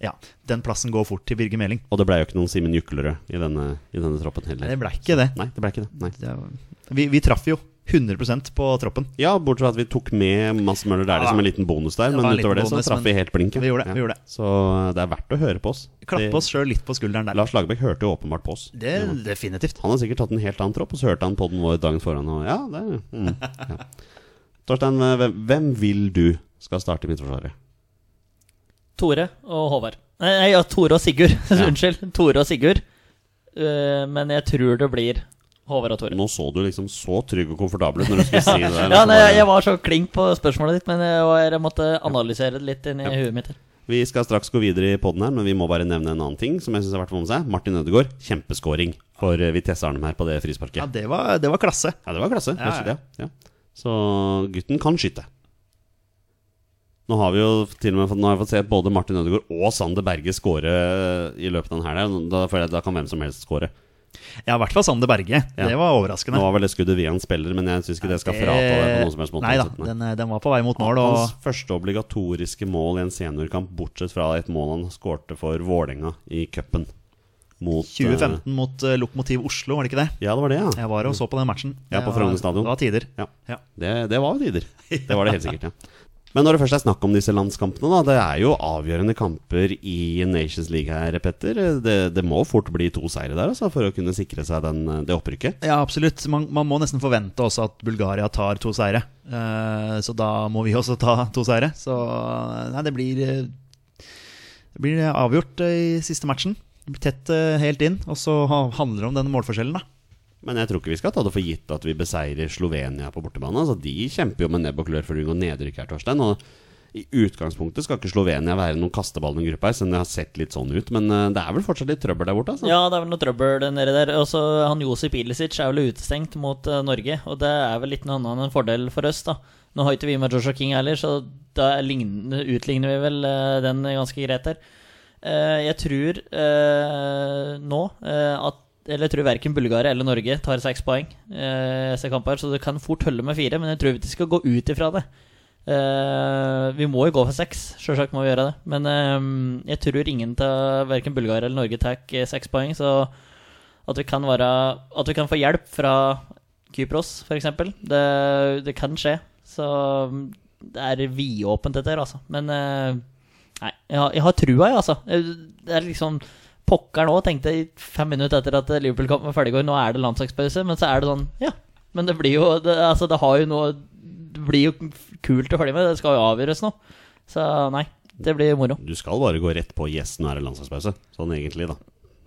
S2: ja, den plassen går fort til Birger Meling.
S1: Og det blei jo ikke noen Simen Juklerød i denne, i denne troppen heller.
S2: Det ble ikke det.
S1: Nei, det ble ikke det. Nei.
S2: det er- vi, vi traff jo 100 på troppen.
S1: Ja, bortsett fra at vi tok med Mads Møller Dæhlie
S2: Ja.
S1: som en liten bonus der,
S2: Det
S1: men
S2: var en liten
S1: utover det så
S2: bonus,
S1: traff
S2: men
S1: vi helt blinken.
S2: vi gjorde det,
S1: Ja.
S2: vi gjorde det.
S1: Så eh, det er verdt å høre på oss. Det-
S2: Klappe oss sjøl litt på skulderen der.
S1: Lars Lagerbäck hørte jo åpenbart på oss.
S2: Det er definitivt.
S1: Han har sikkert tatt en helt annen tropp, og så hørte han på den vår dagen foran. Og ja, det er, mm, ja. Torstein, hvem, hvem vil du skal starte i Midtforsvaret?
S3: Tore og Håvard. Nei, nei, ja, Tore og Sigurd. Unnskyld. Tore og Sigurd. Eh, men jeg tror det blir Håvard og Tore.
S1: Nå så du liksom så trygg og komfortabel ut når du skulle si det der.
S3: Ja,
S1: liksom
S3: nei, jeg-
S1: bare-
S3: jeg var så klink på spørsmålet ditt, men jeg, var, jeg måtte analysere det litt inn i huet mitt. her.
S1: Vi skal straks gå videre i poden her, men vi må bare nevne en annen ting som jeg synes er verdt å få med seg. Martin Ødegaard, kjempeskåring for eh, Vitesse Arnhem her på det frisparket.
S2: Ja, det var, det var klasse.
S1: Ja, det var klasse.
S2: Ja,
S1: klasse det, ja. Så gutten kan skyte. Nå har vi jo til og med fått, nå har jeg fått se både Martin Ødegaard og Sander Berge skåre i løpet av den her. der. Da føler jeg at da kan hvem som helst skåre.
S2: Ja, i hvert fall Sander Berge.
S1: Ja.
S2: Det var
S1: Nå
S2: overraskende.
S1: var vel det skuddet via en spiller, men jeg syns ikke det skal frata deg på noen som helst måte.
S2: Nei
S1: altså.
S2: da,
S1: uansett, nei.
S2: den, eh, den var på vei mot mål.
S1: Hans
S2: Og
S1: første obligatoriske mål i en seniorkamp, bortsett fra et mål han skårte for Vålerenga i cupen. Mot, eh,
S2: 2015 mot eh, Lokomotiv Oslo, var det ikke det?
S1: Ja, det var det, ja.
S2: Jeg var og så på den matchen.
S1: Ja,
S2: Det
S1: på
S2: var-
S1: Frogner stadion.
S2: Det var tider.
S1: ja.
S2: Ja.
S1: Det, det var jo tider. Det var det helt sikkert, ja. Men når det først er snakk om disse landskampene, da. Det er jo avgjørende kamper i Nations League her, Petter. Det, det må fort bli to seire der, altså, for å kunne sikre seg den, det opprykket.
S2: Ja, absolutt. Man, man må nesten forvente også at Bulgaria tar to seire. Eh, så da må vi også ta to seire. Så nei, det blir eh, Det blir avgjort eh, i siste matchen. Det blir tett eh, helt inn. Og så ha- handler det om denne målforskjellen, da.
S1: Men jeg tror ikke vi skal ta det for gitt at vi beseirer Slovenia på bortebane. Altså, de kjemper jo med nebb og klør for å unngå nedrykk her, Torstein. Og i utgangspunktet skal ikke Slovenia være noen kasteball i den gruppa her, selv om det har sett litt sånn ut. Men eh, det er vel fortsatt litt trøbbel der borte, altså.
S3: Ja, det er vel noe trøbbel nedi der. Og så han Josip Ilicic er vel utestengt mot eh, Norge, og det er vel litt noe annet enn en fordel for oss, da. Nå har ikke vi med Joshua King heller, så da lign- utligner vi vel eh, den ganske greit der. Eh, Jeg tror eh, nå eh, at eller jeg tror verken Bulgaria eller Norge tar seks poeng, eh, etter kamp her, så det kan fort holde med fire. Men jeg tror ikke vi skal gå ut ifra det. Eh, vi må jo gå for seks, sjølsagt må vi gjøre det. Men eh, jeg tror ingen av verken Bulgaria eller Norge tar eh, seks poeng, så at vi kan, være, at vi kan få hjelp fra Kypros, f.eks. Det, det kan skje. Så mm, det er vidåpent, dette her, altså. Men eh, nei, jeg har, jeg har trua, jeg, altså. Jeg- Det er liksom pokker nå, tenkte jeg i fem minutter etter at Liverpool kom med ferdiggård. Nå er det landslagspause, men så er det sånn, ja. Men det blir jo det, Altså, det har jo noe Det blir jo kult å følge med. Det skal jo avgjøres nå. Så nei, det blir moro.
S1: Du skal bare gå rett på 'yes, nå er det landslagspause'. Sånn egentlig, da.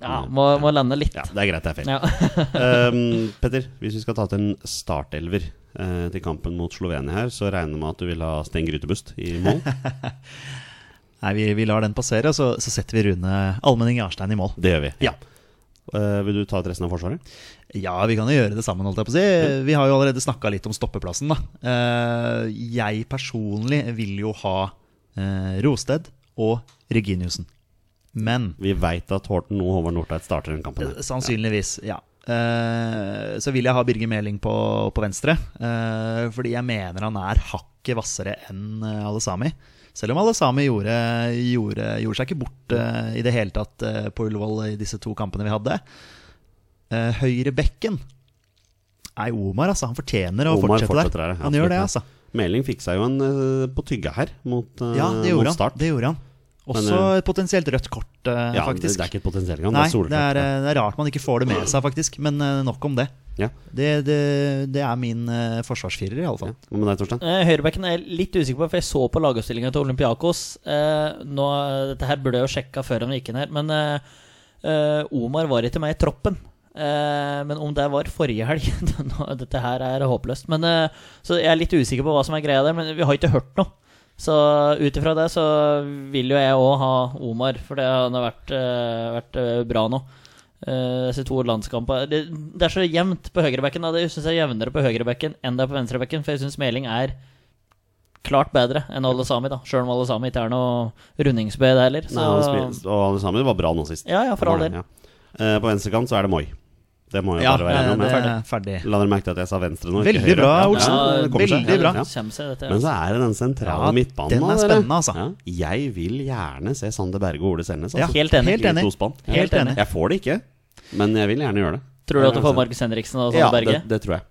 S3: Ja, Må, må lande litt.
S1: Ja, Det er greit, det er feil.
S3: Ja.
S1: Ehm, Petter, hvis vi skal ta ut en startelver eh, til kampen mot Slovenia her, så regner jeg med at du vil ha Sten Grytebust i mål.
S2: Nei, vi, vi lar den passere, og så, så setter vi Rune Almenning Jarstein i mål.
S1: Det gjør vi.
S2: Ja.
S1: Eh, vil du ta ut resten av Forsvaret?
S2: Ja, vi kan jo gjøre det sammen, holdt jeg på å si. Vi har jo allerede snakka litt om stoppeplassen, da. Eh, Jeg personlig vil jo ha eh, Rosted og Reginiussen. Men
S1: Vi veit at Horten og Håvard Nordtveit starter den kampen. her.
S2: Sannsynligvis, ja. Eh, så vil jeg ha Birger Meling på, på venstre. eh, fordi jeg mener han er hakket hvassere enn eh, Alle Sami. Selv om Alle Sami gjorde, gjorde, gjorde seg ikke bort eh, i det hele tatt eh, på Ullevål i disse to kampene vi hadde. Uh, høyre bekken Nei, Omar, altså. Han fortjener å
S1: Omar
S2: fortsette
S1: fortsetter
S2: der.
S1: her, ja,
S2: han gjør det,
S1: absolutt,
S2: altså.
S1: Meling fiksa jo en eh, på tygga her, mot, eh,
S2: Ja, det
S1: mot
S2: gjorde han.
S1: start.
S2: Det gjorde han. Også
S1: Men, eh,
S2: et potensielt rødt kort, eh,
S1: ja, det,
S2: faktisk.
S1: det er ikke et potensielt gang,
S2: Nei,
S1: det er solklart.
S2: det er, eh, det er rart man ikke får det med seg, faktisk. Men eh, nok om det.
S1: Ja.
S2: Det, det, det er min eh, forsvarsfirer, i alle fall.
S1: Ja. Hva med deg, Torstein?
S3: Eh, Høyrebekken er jeg litt usikker på, for jeg så på lagoppstillinga til Olympiakos. Eh, nå, dette her burde jeg jo sjekka før han gikk inn her, men eh, eh, Omar var ikke med i troppen. Eh, men om det var forrige helg nå- Dette her er håpløst. Men, eh, så jeg er litt usikker på hva som er greia der, men vi har ikke hørt noe. Så ut ifra det så vil jo jeg òg ha Omar, for det han har vært, eh, vært eh, bra nå. Eh, disse to landskampene det, det er så jevnt på høyrebekken. da. Det synes jeg er jevnere på høyrebekken enn det er på venstrebekken, for jeg syns Meling er klart bedre enn alle sami, da. Sjøl om alle sami ikke er noe rundingsbed heller. Så
S1: Nei, han spil- og alle sammen var bra nå sist.
S3: Ja, ja, for
S1: Det
S3: all
S1: var det,
S3: del.
S1: ja. Eh, På venstrekant så er det Moi. Det må jo bare være
S2: eh,
S1: enig om.
S2: det
S1: jeg.
S2: er ferdig.
S1: La dere merke til at jeg sa venstre nå. ikke
S2: Veldig
S1: høyre.
S2: bra,
S1: Ja,
S2: Olsen.
S1: ja, det kommer seg.
S2: Veldig bra.
S1: Ja.
S3: Kommer seg, dette,
S1: Men
S3: ja.
S1: så er det den sentrale
S2: Ja,
S1: midtbanen.
S2: den er
S1: da, dere.
S2: spennende, altså.
S1: Ja, jeg vil gjerne se Sander Berge og Ole Selnes.
S2: Ja,
S1: Altså.
S3: Helt enig.
S1: I
S2: Helt enig.
S1: tospann. Ja.
S3: Helt enig.
S1: Jeg får det ikke, men jeg vil gjerne gjøre det.
S3: Tror du at du får Markus Henriksen og Sanne
S1: Ja,
S3: Berge?
S1: det, det tror jeg.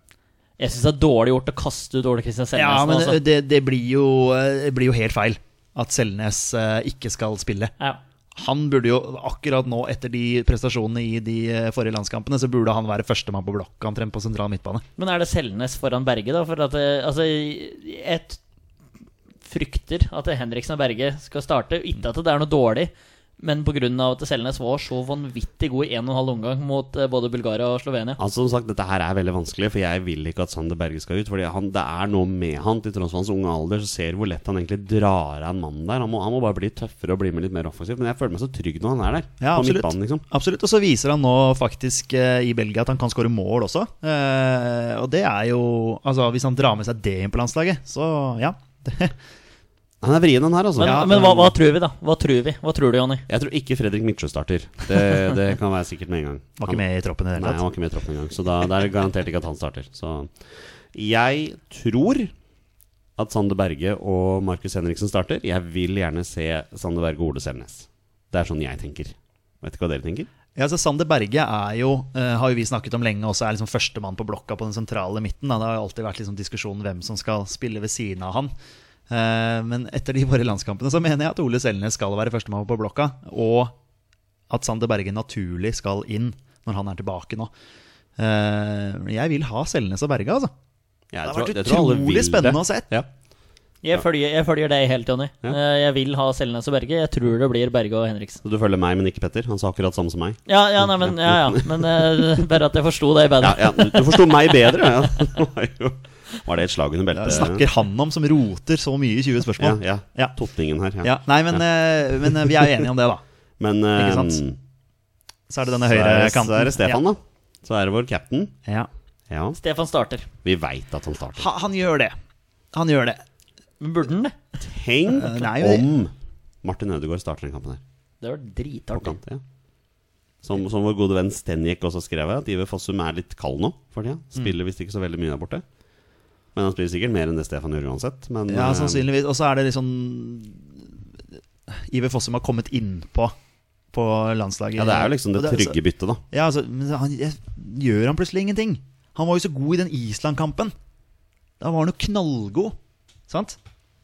S3: Jeg syns det er dårlig gjort å kaste ut Ole
S2: Ja,
S3: Kristian Selnesen.
S2: men
S3: altså.
S2: det, det, blir jo, eh, det blir jo helt feil at Selnes eh, ikke skal spille.
S3: ja.
S2: Han burde jo akkurat nå, etter de prestasjonene i de eh, forrige landskampene, så burde han være førstemann på blokka omtrent på sentral midtbane.
S3: Men er det Selnes foran Berge, da? For at eh, altså, jeg t- frykter at Henriksen og Berge skal starte. Ikke at det er noe dårlig, men pga. at Selnes var så vanvittig god i en og en halv omgang mot eh, både Bulgaria og Slovenia.
S1: Altså Som sagt, dette her er veldig vanskelig, for jeg vil ikke at Sander Berge skal ut. Fordi han, det er noe med han, til tross for hans unge alder, så ser du hvor lett han egentlig drar av en mann der. Han må, han må bare bli tøffere og bli med litt mer offensiv. Men jeg føler meg så trygg når han er der.
S2: Ja,
S1: på
S2: absolutt.
S1: midtbanen, liksom.
S2: Absolutt, Og så viser han nå faktisk eh, i Belgia at han kan skåre mål også. Eh, og det er jo Altså, hvis han drar med seg det inn på landslaget, så ja. Det,
S1: Han er vrien, han her, altså.
S3: Men,
S2: Ja,
S3: men hva,
S2: men-
S3: hva tror vi, da? Hva tror vi? Hva tror du, Jonny?
S1: Jeg tror ikke Fredrik Midtsjø starter. Det, det kan være sikkert med en gang.
S2: var ikke
S1: Han-
S2: med i troppen i det
S1: Nei,
S2: hele
S1: han
S2: tatt.
S1: var ikke med i troppen engang, så da, da er det garantert ikke at han starter. Så jeg tror at Sander Berge og Markus Henriksen starter. Jeg vil gjerne se Sander Berge og Ole Selnes. Det er sånn jeg tenker. Vet ikke hva dere tenker?
S2: Ja, så Sander Berge er jo, eh, har jo vi snakket om lenge, også er liksom førstemann på blokka på den sentrale midten. Da. Det har jo alltid vært liksom diskusjon hvem som skal spille ved siden av han. Eh, men etter de våre landskampene så mener jeg at Ole Selnes skal være førstemann på blokka, og at Sander Berge naturlig skal inn når han er tilbake nå. Eh, jeg vil ha Selnes og Berge, altså. Det
S1: Jeg
S2: har
S1: tror-
S2: vært
S1: jeg tror alle
S2: utrolig
S1: vil
S2: spennende å
S1: det.
S2: se.
S1: Ja.
S3: Jeg, følger, jeg følger deg helt, Jonny.
S1: Ja.
S3: Eh, Jeg vil ha Selnes og Berge. Jeg tror det blir Berge og Henriksen.
S1: Så du følger meg, men ikke Petter? Han sa akkurat samme som meg.
S3: Ja, ja, nei, men, ja, ja. men eh, bare at jeg forsto det bedre.
S1: Ja, ja, du du forsto meg bedre, ja. Det var jo- Var det et slag under beltet?
S2: Snakker han om som roter så mye i 20
S1: ja,
S2: spørsmål?
S1: ja.
S2: Ja.
S1: Totningen her. Ja.
S2: Ja, nei, men, eh, men eh, vi er jo enige om det, da.
S1: Men
S2: Ikke sant?
S1: eh,
S2: Så er det
S1: så,
S2: denne
S1: er,
S2: høyre
S1: det- så er det Stefan,
S2: ja.
S1: da. Så er det vår cap'n.
S2: Ja.
S1: Ja,
S3: Stefan starter.
S1: vi veit at han starter.
S2: Ha, han gjør det. Han gjør det.
S3: Men burde han det?
S1: Tenk
S2: Eh, nei, det-
S1: om Martin Ødegaard starter den kampen her.
S3: Det var
S1: På
S3: dritartig.
S1: kant, ja. som, som vår gode
S2: Mm.
S1: venn Stenjek også skrev, at Iver Fossum er litt kald nå for tida. Spiller visst ikke så veldig mye der borte. Men han spiller sikkert mer enn det Stefan gjør uansett. Men,
S2: Ja,
S1: eh,
S2: sannsynligvis. Og så er det liksom Iver Fossum har kommet innpå på landslaget.
S1: ja, det er jo liksom det
S2: Og
S1: trygge byttet, da.
S2: Ja, altså, men han, jeg, gjør han plutselig ingenting? Han var jo så god i den Island-kampen. Da var han jo knallgod. Sant?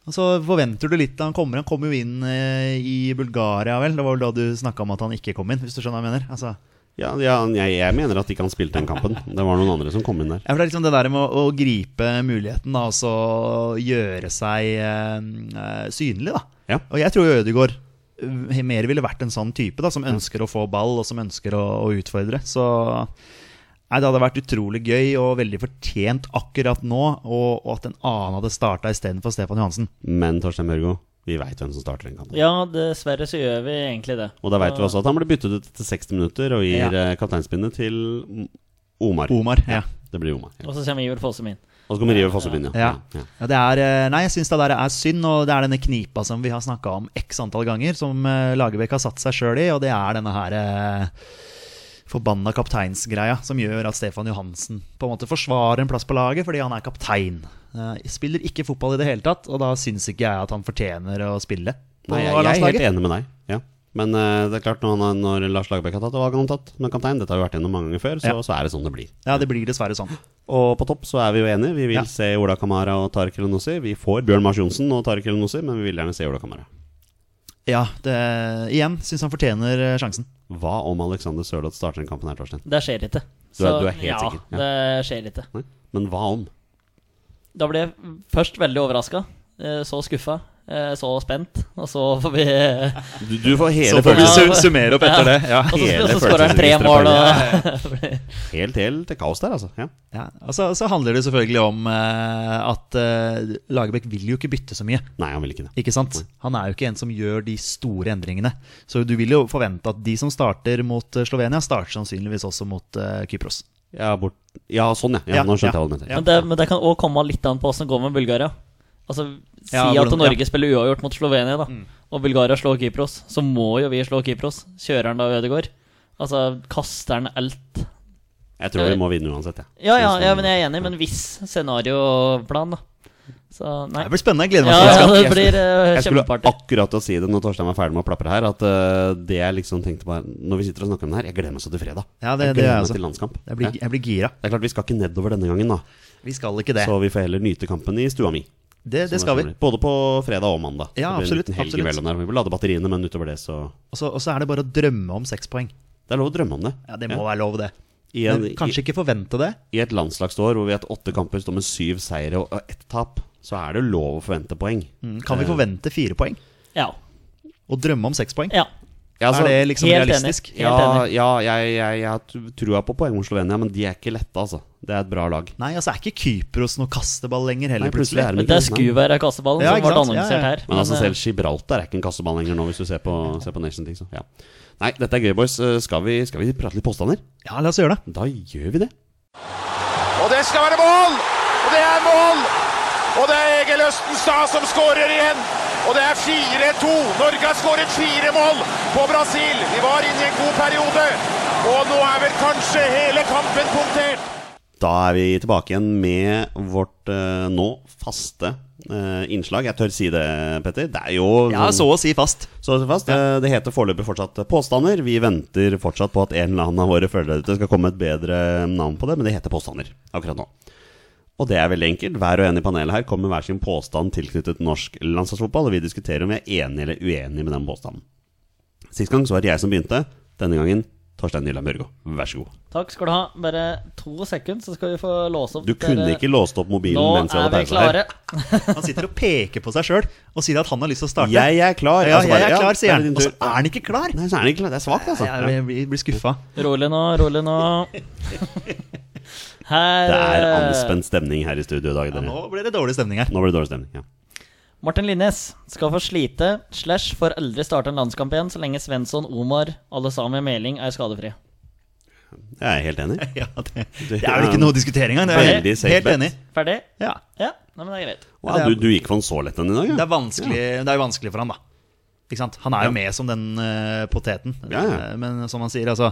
S2: Og så forventer du litt da han kommer. Han kom jo inn eh, i Bulgaria, vel. Det var vel da du snakka om at han ikke kom inn, hvis du skjønner hva jeg mener? Altså,
S1: Ja, ja, jeg, jeg mener at ikke han spilte den kampen. Det var noen andre som kom inn der.
S2: ja, for det er liksom det der med å, å gripe muligheten da, og så gjøre seg eh, eh, synlig, da.
S1: Ja.
S2: Og jeg tror Ødegaard eh, mer ville vært en sånn type, da, som ønsker å få ball og som ønsker å, å utfordre. Så nei, det hadde vært utrolig gøy og veldig fortjent akkurat nå, og, og at en annen hadde starta istedenfor Stefan Johansen.
S1: Men Torstein Børgo, vi veit hvem som starter den kampen.
S3: Ja, dessverre så gjør vi egentlig det.
S1: Og da veit vi også at han ble byttet ut etter 60 minutter og gir
S2: Ja.
S1: eh, kapteinspinnet til Omar.
S2: Omar. Ja.
S1: Det blir Omar. Ja.
S3: Og så kommer Iver Fossum inn.
S1: Og så kommer River Fossum inn,
S2: Ja. Ja, det er, eh, nei, jeg syns det der er synd, og det er denne knipa som vi har snakka om x antall ganger, som eh, Lagerbäck har satt seg sjøl i, og det er denne her eh, forbanna kapteinsgreia som gjør at Stefan Johansen på en måte forsvarer en plass på laget fordi han er kaptein. Eh, Spiller ikke fotball i det hele tatt, og da syns ikke jeg at han fortjener å spille. på
S1: Nei, jeg, jeg er
S2: landslaget.
S1: helt enig med deg. Ja. Men eh, det er klart, når, han, når Lars Lagerbäck har tatt, og hva har han tatt? Men kaptein, dette har vi vært gjennom mange ganger før, så,
S2: Ja.
S1: så er det sånn det blir.
S2: Ja, det blir dessverre sånn.
S1: Og på topp så er vi jo enige. Vi vil
S2: Ja.
S1: se Ola Kamara og Tariq Elenossi. Vi får Bjørn Mars Johnsen og Tariq Elenossi, men vi vil gjerne se Ola Kamara.
S2: Ja, det, igjen syns han fortjener eh, sjansen.
S1: Hva om Alexander Sørloth starter den kampen her, Torstein?
S3: Det skjer ikke.
S1: Du er- du er helt
S3: ja,
S1: sikker, ja.
S3: det skjer ikke.
S1: Nei? Men hva om?
S3: Da ble jeg først veldig overraska, så skuffa, så spent, og så får vi
S1: Du, du får hele
S3: får vi
S1: følelsen.
S3: su-
S2: summere opp etter det. Ja.
S3: Og så,
S1: Hele
S3: og så skårer han tre
S1: følelsesregisteret
S3: mål,
S1: på
S3: og
S1: Helt, helt til kaos der, altså. Ja.
S2: Ja, og så, så handler det selvfølgelig om eh, at eh, Lagerbäck vil jo ikke bytte så mye.
S1: Nei, han vil ikke det.
S2: Ikke sant? Han er jo ikke en som gjør de store endringene. Så du vil jo forvente at de som starter mot eh, Slovenia, starter sannsynligvis også mot eh, Kypros.
S1: Ja, bort. ja sånn, ja. ja,
S2: Ja,
S1: Nå skjønte jeg
S2: ja.
S1: hva du mente. Ja.
S3: Men det, men det kan òg komme litt an på åssen det går med Bulgaria. Altså, Si
S2: Ja,
S3: at
S2: hvordan-
S3: Norge
S2: ja. Mm.
S3: spiller uavgjort mot Slovenia, da, og Bulgaria slår Kypros. Så må jo vi slå Kypros. Kjører han da Ødegaard? Altså, kaster han alt?
S1: Jeg tror vi må vinne uansett, jeg.
S3: Ja, ja,
S1: Synes
S3: ja
S1: det-
S3: men jeg er enig, men hvis scenarioplan, da. Så nei.
S2: Det blir spennende. Jeg gleder meg
S3: Ja,
S2: til det.
S3: ja,
S2: skal-
S3: det blir eh,
S1: Jeg skulle
S3: kjempeparty.
S1: akkurat til å si det når Torstein var ferdig med å plapre her, at eh, det jeg liksom tenkte bare Når vi sitter og snakker om det her, jeg gleder meg så til fredag.
S2: Ja, det-
S1: jeg
S2: det
S1: gleder
S2: er
S1: meg
S2: altså-
S1: til landskamp.
S2: Jeg
S1: Ja.
S2: blir, jeg blir gira.
S1: Det er klart Vi skal ikke nedover denne gangen, da
S2: Vi skal ikke det.
S1: så vi får heller nyte kampen i stua mi.
S2: Det, det
S1: Som
S2: skal
S1: er
S2: vi.
S1: sånn. Både på fredag og mandag.
S2: Ja,
S1: det blir
S2: absolutt,
S1: En liten helg
S2: absolutt.
S1: imellom der. Vi vil lade batteriene, men utover det, så
S2: Og så og så er det bare å drømme om seks poeng.
S1: Det er lov å drømme om det.
S2: Ja, Det må være lov, det.
S1: I, en,
S2: Men kanskje ikke forvente det.
S1: i, I et landslagsår hvor vi har hatt åtte kamper, står med syv seire og og ett tap, så er det lov å forvente poeng.
S2: Kan vi forvente fire poeng?
S3: Ja.
S2: Og drømme om seks poeng?
S3: ja.
S1: Ja, altså,
S2: Er det liksom
S3: Helt
S2: realistisk?
S3: enig. Helt
S1: ja,
S3: enig.
S1: ja jeg, jeg, jeg har t- trua på poeng mot Slovenia, men de er ikke lette, altså. Det er et bra lag.
S2: Nei, altså er ikke Kypros noe kasteball lenger heller,
S1: Nei, plutselig er
S3: Men det
S1: ikke.
S3: skulle være kasseballen
S2: Ja,
S3: som
S2: ikke
S3: ble
S2: sant? Ja, ja.
S3: annonsert her.
S1: Men altså
S3: eh,
S1: selv Gibraltar er ikke en kasseball lenger nå, hvis du ser på, ser på Nation League. Så. Ja. Nei, dette er gøy, boys. Eh, Skal vi, skal vi prate litt påstander?
S2: Ja, la oss gjøre det.
S1: Da gjør vi det.
S5: Og det skal være mål! Og det er mål! Og det er Egil Østenstad som skårer igjen. Og det er 4-2. Norge har skåret fire mål på Brasil. Vi var inne i en god periode. Og nå er vel kanskje hele kampen punktert.
S1: Da er vi tilbake igjen med vårt eh, nå faste eh, innslag. Jeg tør si det, Petter. Det er jo
S2: Ja, så å si fast.
S1: Så fast. Eh, det heter foreløpig fortsatt påstander. Vi venter fortsatt på at en eller annen av våre følgere der ute skal komme et bedre navn på det, men det heter påstander akkurat nå. Og det er veldig enkelt. Hver og en i panelet her kommer med hver sin påstand tilknyttet norsk landslagsfotball, og vi diskuterer om vi er enig eller uenig med den påstanden. Sist gang så var det jeg som begynte. Denne gangen Torstein Nyland Bjørgo. Vær så god.
S3: eh, Takk skal du ha. Bare to sekunder, så skal vi få låse opp
S1: Du kunne
S3: dere-
S1: ikke låst opp mobilen
S3: Nå
S1: mens jeg
S3: er
S1: hadde
S3: vi
S1: pause her.
S3: klare.
S2: Han sitter og peker på seg sjøl og sier at han har lyst til å starte.
S1: Jeg er klar.
S2: Ja,
S1: Altså bare,
S2: jeg er
S1: ja,
S2: klar, sier
S1: da
S2: han.
S1: det din
S2: Og så
S1: tur.
S2: er han ikke klar!
S1: Nei, så er den ikke klar. Det er svakt, altså.
S2: Jeg blir- blir, blir skuffa.
S3: Rolig nå, rolig nå. Her
S1: Det er
S3: eh,
S1: anspent stemning her i studio i dag.
S2: Ja,
S1: Dere.
S2: nå blir det dårlig stemning her.
S1: Nå blir det dårlig stemning. Ja.
S3: Martin Linnes skal få slite slash får aldri starte en landskamp igjen så lenge Svensson, Omar, alle sammen Meling er skadefrie.
S1: Jeg er helt enig.
S2: Ja, det, det er vel ikke noe å diskutere engang. Det er
S1: Veldig
S2: jeg
S1: safe
S2: helt
S1: bet.
S2: enig.
S3: Ferdig?
S2: Ja.
S3: Ja, nei, men det er greit.
S1: Wow, du, du gikk for en så lett en i dag, ja.
S2: Det er vanskelig, det er jo vanskelig for han, da. Ikke sant? Han er jo med som den eh, poteten.
S1: Ja, ja.
S2: Eh, Men som han sier, altså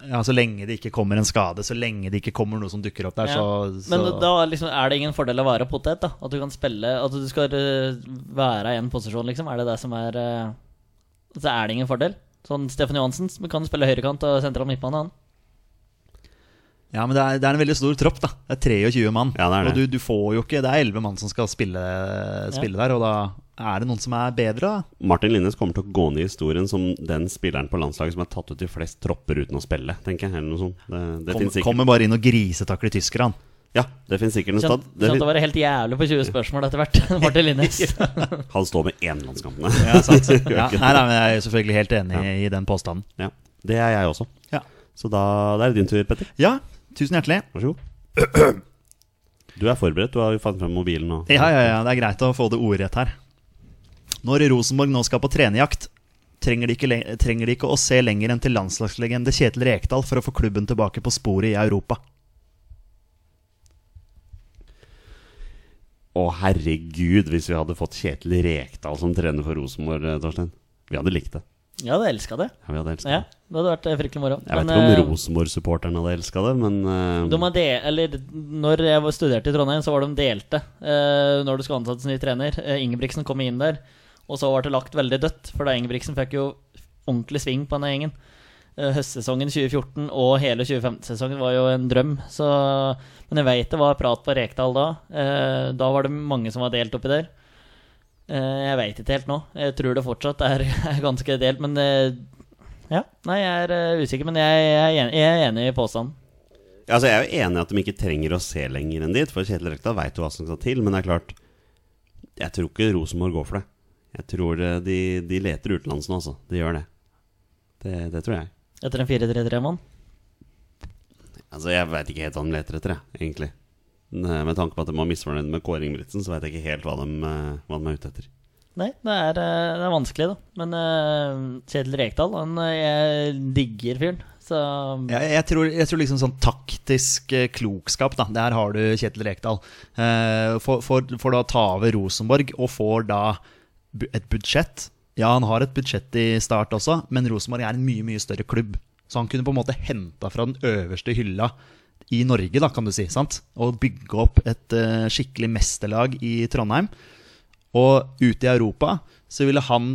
S2: ja, så lenge det ikke kommer en skade, så lenge det ikke kommer noe som dukker opp der,
S3: Ja.
S2: så, så
S3: Men da liksom, er det ingen fordel å være potet, da? At du kan spille At du skal eh, være i en posisjon, liksom? Er det det som er eh, Så er det ingen fordel? Sånn Stefan Johansen som kan spille høyrekant og sentral midtbane, han.
S2: Ja, men det er, det er en veldig stor tropp, da. Det er 23 mann.
S1: Ja, det er det.
S2: Og du, du får jo ikke Det er 11 mann som skal spille, spille der, og da er det noen som er bedre, da.
S1: Martin Linnes kommer til å gå ned i historien som den spilleren på landslaget som er tatt ut i flest tropper uten å spille, tenker jeg. Eller noe sånt. Det, det
S2: Kom,
S1: finnes sikkert,
S2: kommer bare inn og grisetakler tyskerne.
S1: ja, det finnes sikkert en
S3: Kjent,
S1: stad. Det
S3: kjent å
S1: fin-
S3: være helt jævlig på 20 spørsmål etter hvert. Martin Linnes.
S1: Han står med én landskampene.
S2: Ja, sant. ja, nei, nei, men jeg er selvfølgelig helt enig i den påstanden.
S1: Ja, det er jeg også.
S2: Ja.
S1: Så da da er det din tur, Petter.
S2: ja, tusen hjertelig.
S1: Vær så god. Du er forberedt, du har jo fant frem mobilen og
S2: Ja, ja, ja, det er greit å få det ordrett her. Når Rosenborg nå skal på trenerjakt, trenger de, ikke, le- trenger de ikke å se lenger enn til landslagslegende Kjetil Rekdal for å få klubben tilbake på sporet i Europa.
S1: Å, herregud, hvis vi hadde fått Kjetil Rekdal som trener for Rosenborg, eh, Torstein. Vi hadde likt det.
S3: Jeg hadde elska det.
S1: Ja, vi hadde elsket
S3: Ja,
S1: det.
S3: det hadde vært eh, fryktelig moro.
S1: Jeg vet
S3: Men,
S1: ikke
S3: eh,
S1: om Rosenborg-supporterne hadde elska det, men eh,
S3: De har del, eller, når jeg var- studerte i Trondheim, så var de delte eh, når du skulle ansette som ny trener. Eh, Ingebrigtsen kom inn der, og så ble det lagt veldig dødt. For da Ingebrigtsen fikk jo ordentlig sving på denne gjengen. Eh, høstsesongen 2014 og hele 2015-sesongen var jo en drøm. Så, men jeg veit det var prat på Rekdal da. Eh, da var det mange som var delt oppi der. Eh, jeg veit ikke helt nå. Jeg tror det fortsatt er, er ganske delt, men eh, ja, Nei, jeg er eh, usikker, men jeg, jeg, er enig, jeg er enig i påstanden.
S1: Altså, jeg er jo enig i at de ikke trenger å se lenger enn dit, for Kjetil Rekdal veit jo hva som skal til. Men det er klart, jeg tror ikke Rosenborg går for det. Jeg tror eh, de, de leter utenlands nå, altså. De gjør det. Det, det tror jeg.
S3: Etter en 4-3-3-mann?
S1: Altså, jeg veit ikke helt hva de leter etter, jeg, egentlig. Ne- Med tanke på at de var misfornøyd med Kåre Ingebrigtsen, så veit jeg ikke helt hva de, eh, hva de er ute etter.
S3: Nei, det er, eh, det er vanskelig, da. Men eh, Kjetil Rekdal, han eh, jeg digger fyren. Så
S2: Jeg, jeg, tror, jeg tror liksom sånn taktisk eh, klokskap, da. Der har du Kjetil Rekdal. Eh, får- får får da ta over Rosenborg, og får da bu- et budsjett. Ja, han har et budsjett i start også, men Rosenborg er en mye, mye større klubb. Så han kunne på en måte henta fra den øverste hylla i Norge, da, kan du si. sant? Og bygge opp et eh, skikkelig mesterlag i Trondheim. Og ute i Europa så ville han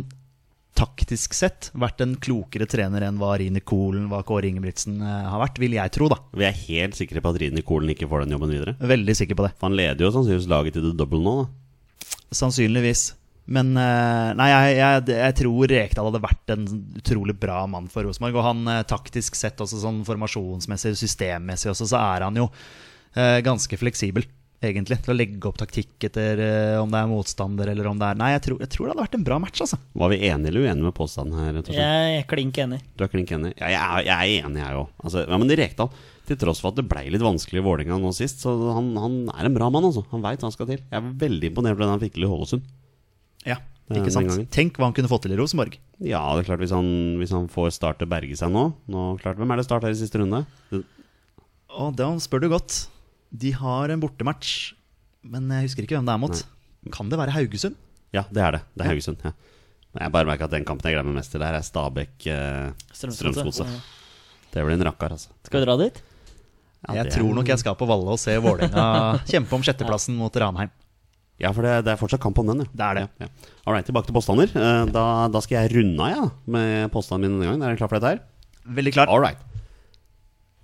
S2: taktisk sett vært en klokere trener enn hva Rine Kolen, hva Kåre Ingebrigtsen eh, har vært, vil jeg tro, da.
S1: Vi er helt sikre på at Rini Kolen ikke får den jobben videre.
S2: Veldig sikker på det.
S1: For han leder jo sannsynligvis laget til det double nå, da.
S2: Sannsynligvis. Men eh, nei, jeg, jeg, jeg tror Rekdal hadde vært en utrolig bra mann for Rosenborg. Og han eh, taktisk sett, også sånn formasjonsmessig, systemmessig også, så er han jo eh, ganske fleksibel, egentlig. Til å legge opp taktikk etter eh, om det er motstander eller om det er Nei, jeg tror, jeg tror det hadde vært en bra match, altså.
S1: Var vi enige eller uenige med påstanden her? Torstein?
S3: jeg er klink enig.
S1: Du er klink enig? Ja, jeg, er, jeg er enig, jeg òg. Altså, ja, men Rekdal, til tross for at det ble litt vanskelig i Vålerenga nå sist, så han, han er en bra mann, altså. Han veit hva han skal til. Jeg er veldig imponert over den han fikk til i Ålesund.
S2: Ja,
S1: Det er
S2: ikke
S1: den
S2: sant?
S1: gangen.
S2: Tenk hva han kunne fått til i Rosenborg.
S1: Ja, det er klart hvis han, hvis han får Start til å berge seg nå Nå klart, Hvem er det Start her i siste runde? Det,
S2: Og da spør du godt. De har en bortematch, men jeg husker ikke hvem det er mot. Kan det være Haugesund?
S1: ja, det er det. Det er Haugesund. Ja. Men Jeg bare merker at den kampen jeg glemmer mest til der, er Stabæk eh, Strømsgodset.
S3: Ja.
S1: Det blir en rakkar, altså.
S3: Skal vi dra dit?
S2: jeg
S1: Ja, det er-
S2: tror nok jeg skal på Valle og se Vålerenga kjempe om sjetteplassen mot Ranheim.
S1: Ja, for det, det er fortsatt kamp om den, ja.
S2: Det er det.
S1: Ja, ja. All right, tilbake til påstander. Eh, Da, da skal jeg runde av ja, med påstanden min denne gangen. Er dere klar for dette her?
S2: Veldig klar.
S1: All right.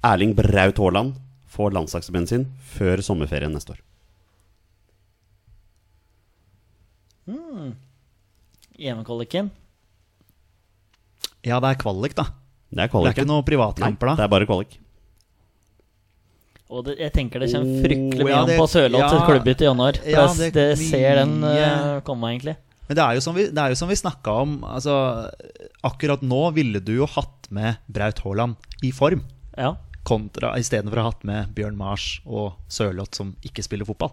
S1: Erling Braut Haaland får landslagsdebuten sin før sommerferien neste år.
S3: EM-kvaliken.
S2: Ja, det er kvalik, da.
S1: Det
S2: Det
S1: er
S2: er ikke
S1: kvaliken.
S2: noen
S1: Nei,
S2: privatkamper
S1: det
S2: da.
S1: er bare kvalik.
S3: Og det, jeg tenker det kommer
S2: Oh,
S3: fryktelig mye
S2: ja,
S3: om
S2: det-
S3: på Sørloth sitt
S2: ja.
S3: klubbbytte i januar. For
S2: Ja, det-
S3: jeg- det ser den
S2: mye-
S3: eh, komme, egentlig.
S2: Men det er jo som vi, det er jo som vi snakka om, altså Akkurat nå ville du jo hatt med Braut Haaland i form,
S3: Ja.
S2: kontra istedenfor å ha hatt med Bjørn Mars og Sørloth, som ikke spiller fotball.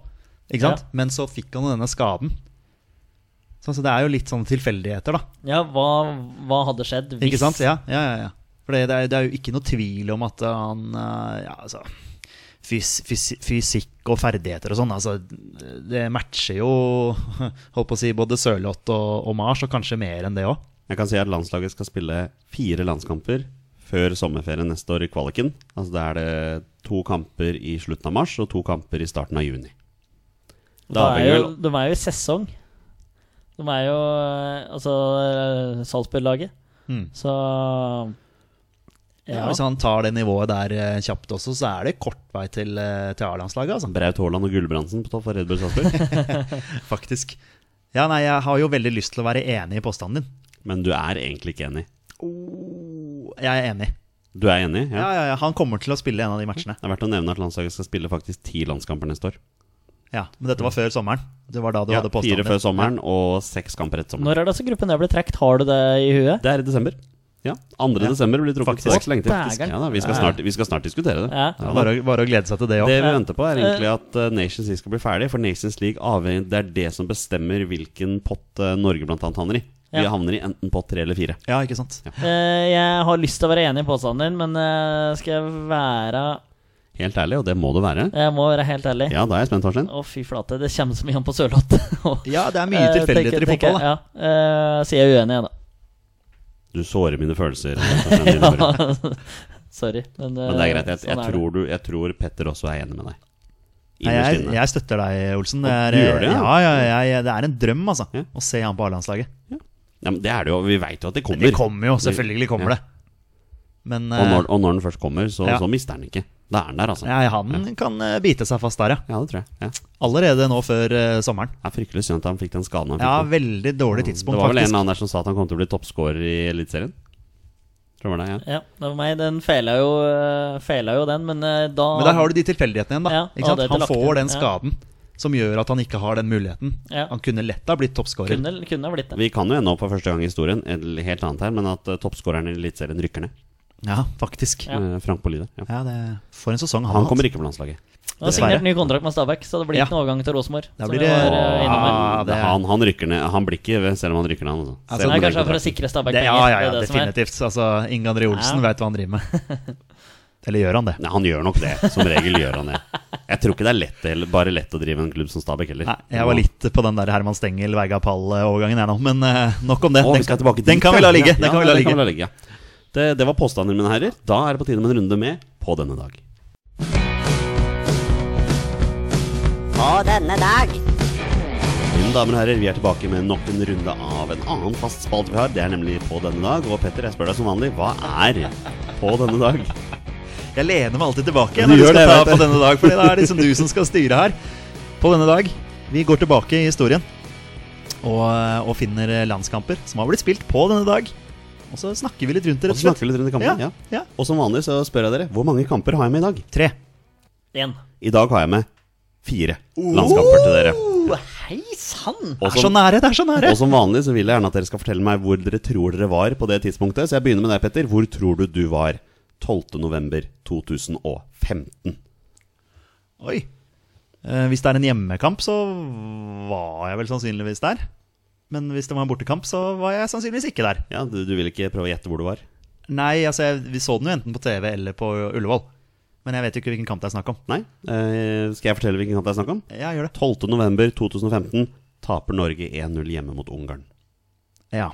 S2: Ikke sant?
S3: Ja.
S2: Men så fikk han jo denne skaden. Så, så det er jo litt sånne tilfeldigheter, da.
S3: ja hva, hva hadde skjedd hvis
S2: Ikke sant? Ja, ja, ja, ja. For det, det, er, det er jo ikke noe tvil om at han eh, Ja, altså fys, fys, Fysikk og ferdigheter og sånn, altså Det matcher jo holdt på å si, både Sørloth og, og Mars, og kanskje mer enn det òg.
S1: Jeg kan si at landslaget skal spille fire landskamper før sommerferien neste år i kvaliken. Altså Da er det to kamper i slutten av mars og to kamper i starten av juni.
S3: De
S1: Da
S3: er,
S1: avhenger
S3: jo, de er jo i sesong. De er jo eh, Altså, eh, Salzburg-laget.
S2: Mm.
S3: Så
S2: Ja.
S3: Ja.
S2: Hvis han tar det nivået der eh, kjapt også, så er det kort vei til, eh, til A-landslaget, altså.
S1: Braut Haaland og Gulbrandsen på topp for Red Bull Salzburg.
S2: Faktisk. Ja, nei, jeg har jo veldig lyst til å være enig i påstanden din.
S1: Men du er egentlig ikke enig. Oh.
S2: Jeg er enig.
S1: Du er enig?
S2: Ja,
S1: Ja.
S2: ja, ja, Han kommer til å spille en av de matchene.
S1: Det er verdt å nevne at landslaget skal spille faktisk ti landskamper neste år.
S2: Ja, Men dette var før sommeren. Det var da du
S1: Ja,
S2: hadde
S1: fire
S2: påstanden
S1: før
S2: din.
S1: sommeren og seks kamper etter sommeren.
S3: Når er det altså gruppen der ble trukket? Har du det i huet?
S1: Det er i desember. Ja, 2. desember blir det trukket. Så det er ikke så lenge til.
S3: Faktisk.
S1: Ja, da, vi, skal snart, vi skal snart diskutere det.
S3: Ja.
S1: Ja, da.
S2: Bare, å- bare å glede seg til det òg.
S1: Det vi venter på, er egentlig at eh, Nations League skal bli ferdig. For Nations League avhenger, det er det som bestemmer hvilken pott eh, Norge blant annet havner i. Vi
S3: Ja.
S1: havner i enten pott tre eller fire.
S2: Ja, ikke sant?
S3: Eh, jeg har lyst til å være enig i påstanden din, men eh, skal jeg være
S1: Helt ærlig, og det må det være.
S3: Jeg må være helt ærlig. Å,
S1: Ja, da er jeg spent, Torstein.
S3: fy flate, det kommer så mye an på Sørloth.
S2: Ja, det er
S1: Eh,
S2: mye tilfeldigheter i fotball. da
S3: Ja. Eh, så jeg er uenig, jeg, da.
S1: Du sårer mine følelser. Torstein, dine ord.
S3: Sorry. Men, eh,
S1: Men det er greit. Jeg,
S3: sånn er
S1: jeg,
S3: det.
S1: tror, du, jeg tror Petter også er enig med deg.
S2: Nei,
S1: Innerst
S2: jeg,
S1: inne.
S2: jeg støtter deg, Olsen. Det
S1: Å,
S2: er,
S1: du gjør det, ja?
S2: ja, ja, ja, ja, det er en drøm altså
S1: Ja.
S2: å se han på A-landslaget.
S1: Ja, men det er det jo. Vi veit jo at det kommer.
S2: Det kommer jo, selvfølgelig kommer
S1: Ja.
S2: det. Men
S1: Og
S2: eh,
S1: når, og når den først kommer, så,
S2: Ja.
S1: så mister den ikke. Da er den der, altså.
S2: ja, han kan eh, bite seg fast der, ja.
S1: Ja, det tror jeg. Ja. Det
S2: Allerede nå før eh, sommeren.
S1: er fryktelig synd at han fikk den skaden han fikk.
S2: Ja,
S1: nå.
S2: veldig dårlig
S1: det
S2: tidspunkt,
S1: var vel en
S2: faktisk.
S1: eller annen der som sa at han kom til å bli toppskårer i Eliteserien. Tror det var det, ja.
S3: Ja, det var meg. Den feila jo, eh, feila jo den, men eh, da
S2: Men der har du de tilfeldighetene igjen, da.
S3: Ja, og
S2: ikke sant?
S3: det er
S2: Han
S3: lagt
S2: får
S3: inn,
S2: den
S3: ja.
S2: skaden som gjør at han ikke har den muligheten.
S3: Ja.
S2: Han kunne lett ha blitt toppskårer.
S3: kunne, kunne ha blitt det.
S1: Vi kan jo ende opp for første gang i historien, eller helt annet her, men at eh, toppskåreren i Eliteserien rykker ned.
S2: Ja, faktisk.
S3: Ja.
S2: Ja.
S1: Eh, Frank Bollider. Ja.
S2: det For en sesong han
S1: Han
S2: har hatt.
S1: kommer ikke på landslaget.
S3: Han har
S2: Dessverre.
S3: signert ny kontrakt med Stabæk, så det blir
S2: Ja.
S3: ikke noen overgang til Rosenborg.
S2: Da
S3: som
S2: blir
S3: vi
S2: det-
S3: var, eh, innom her.
S2: Ah, det-
S1: han, han rykker ned. Han blir ikke ved, selv om han rykker ned. Altså.
S2: Altså,
S1: Selv om
S3: Nei,
S1: han
S3: kanskje
S1: rykker
S3: for å
S1: ned.
S3: sikre
S2: Det,
S3: Stabæk
S2: ja,
S3: penger,
S2: ja,
S3: det
S2: ja,
S3: er det som er.
S2: definitivt. Altså, Inge André Olsen
S3: Ja.
S2: vet veit hva han driver med. Eller gjør han det?
S1: Nei, han gjør nok det. Som regel gjør han det. Jeg tror ikke det er lett, eller bare lett å drive en klubb som Stabæk heller.
S2: Nei, jeg var litt på den der Herman Stengel, Veiga Pall-overgangen jeg nå. Men eh, nok om det.
S1: Å, vi
S2: Den,
S1: skal tilbake dit,
S2: den kan vi la
S1: ja.
S2: ligge.
S1: Ja,
S2: Den kan vi la ligge.
S1: ja. Det, det var påstander, mine herrer. Da er det på tide med en runde med På denne dag.
S6: På denne dag.
S1: Mine damer og herrer, vi er tilbake med nok en runde av en annen fast spalte vi har. Det er nemlig På denne dag. Og Petter, jeg spør deg som vanlig, hva er På denne dag?
S2: Jeg lener meg alltid tilbake
S1: Du
S2: når du skal
S1: gjør det,
S2: ta
S1: vet
S2: på
S1: jeg.
S2: denne dag, Fordi da er det liksom du som skal styre her. På denne dag, vi går tilbake i historien og, eh, og finner landskamper som har blitt spilt på denne dag. Og så snakker vi litt rundt det,
S1: Og
S2: rett
S1: så
S2: og slett.
S1: snakker vi litt rundt kampen. Ja.
S2: Ja, ja.
S1: Og som vanlig så spør jeg dere, hvor mange kamper har jeg med i dag?
S2: Tre.
S3: Igjen.
S1: I dag har jeg med fire landskamper til dere.
S3: Hei sann!
S1: Og
S2: Det er så
S1: som,
S2: nære, det er så nære!
S1: og som vanlig så vil jeg gjerne at dere skal fortelle meg hvor dere tror dere var på det tidspunktet. Så jeg begynner med deg, Petter. Hvor tror du du var 12.11.2015?
S2: Oi. Eh, hvis det er en hjemmekamp, så var jeg vel sannsynligvis der. Men hvis det var en bortekamp, så var jeg sannsynligvis ikke der.
S1: Ja, du, du vil ikke prøve å gjette hvor du var?
S2: Nei, altså, jeg, vi så den jo enten på TV eller på Ullevål. Men jeg vet jo ikke hvilken kamp det er snakk om.
S1: Nei? Eh, skal jeg fortelle hvilken kamp det er snakk om?
S2: Ja, gjør det.
S1: 12.11.2015 taper Norge 1-0 hjemme mot Ungarn.
S2: Ja.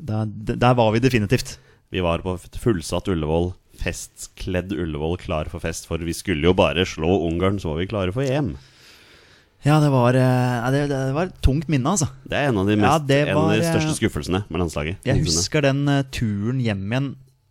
S2: Der, der var vi definitivt.
S1: Vi var på et fullsatt Ullevål, festkledd Ullevål, klar for fest. For vi skulle jo bare slå Ungarn, så var vi klare for EM.
S2: Ja, det var, eh, nei, det, det var et tungt minne, altså.
S1: Det er en av de, mest,
S2: Ja, det
S1: en av
S2: var,
S1: de
S2: eh,
S1: største skuffelsene med landslaget.
S2: Jeg
S1: noensinne.
S2: husker den eh, turen hjem igjen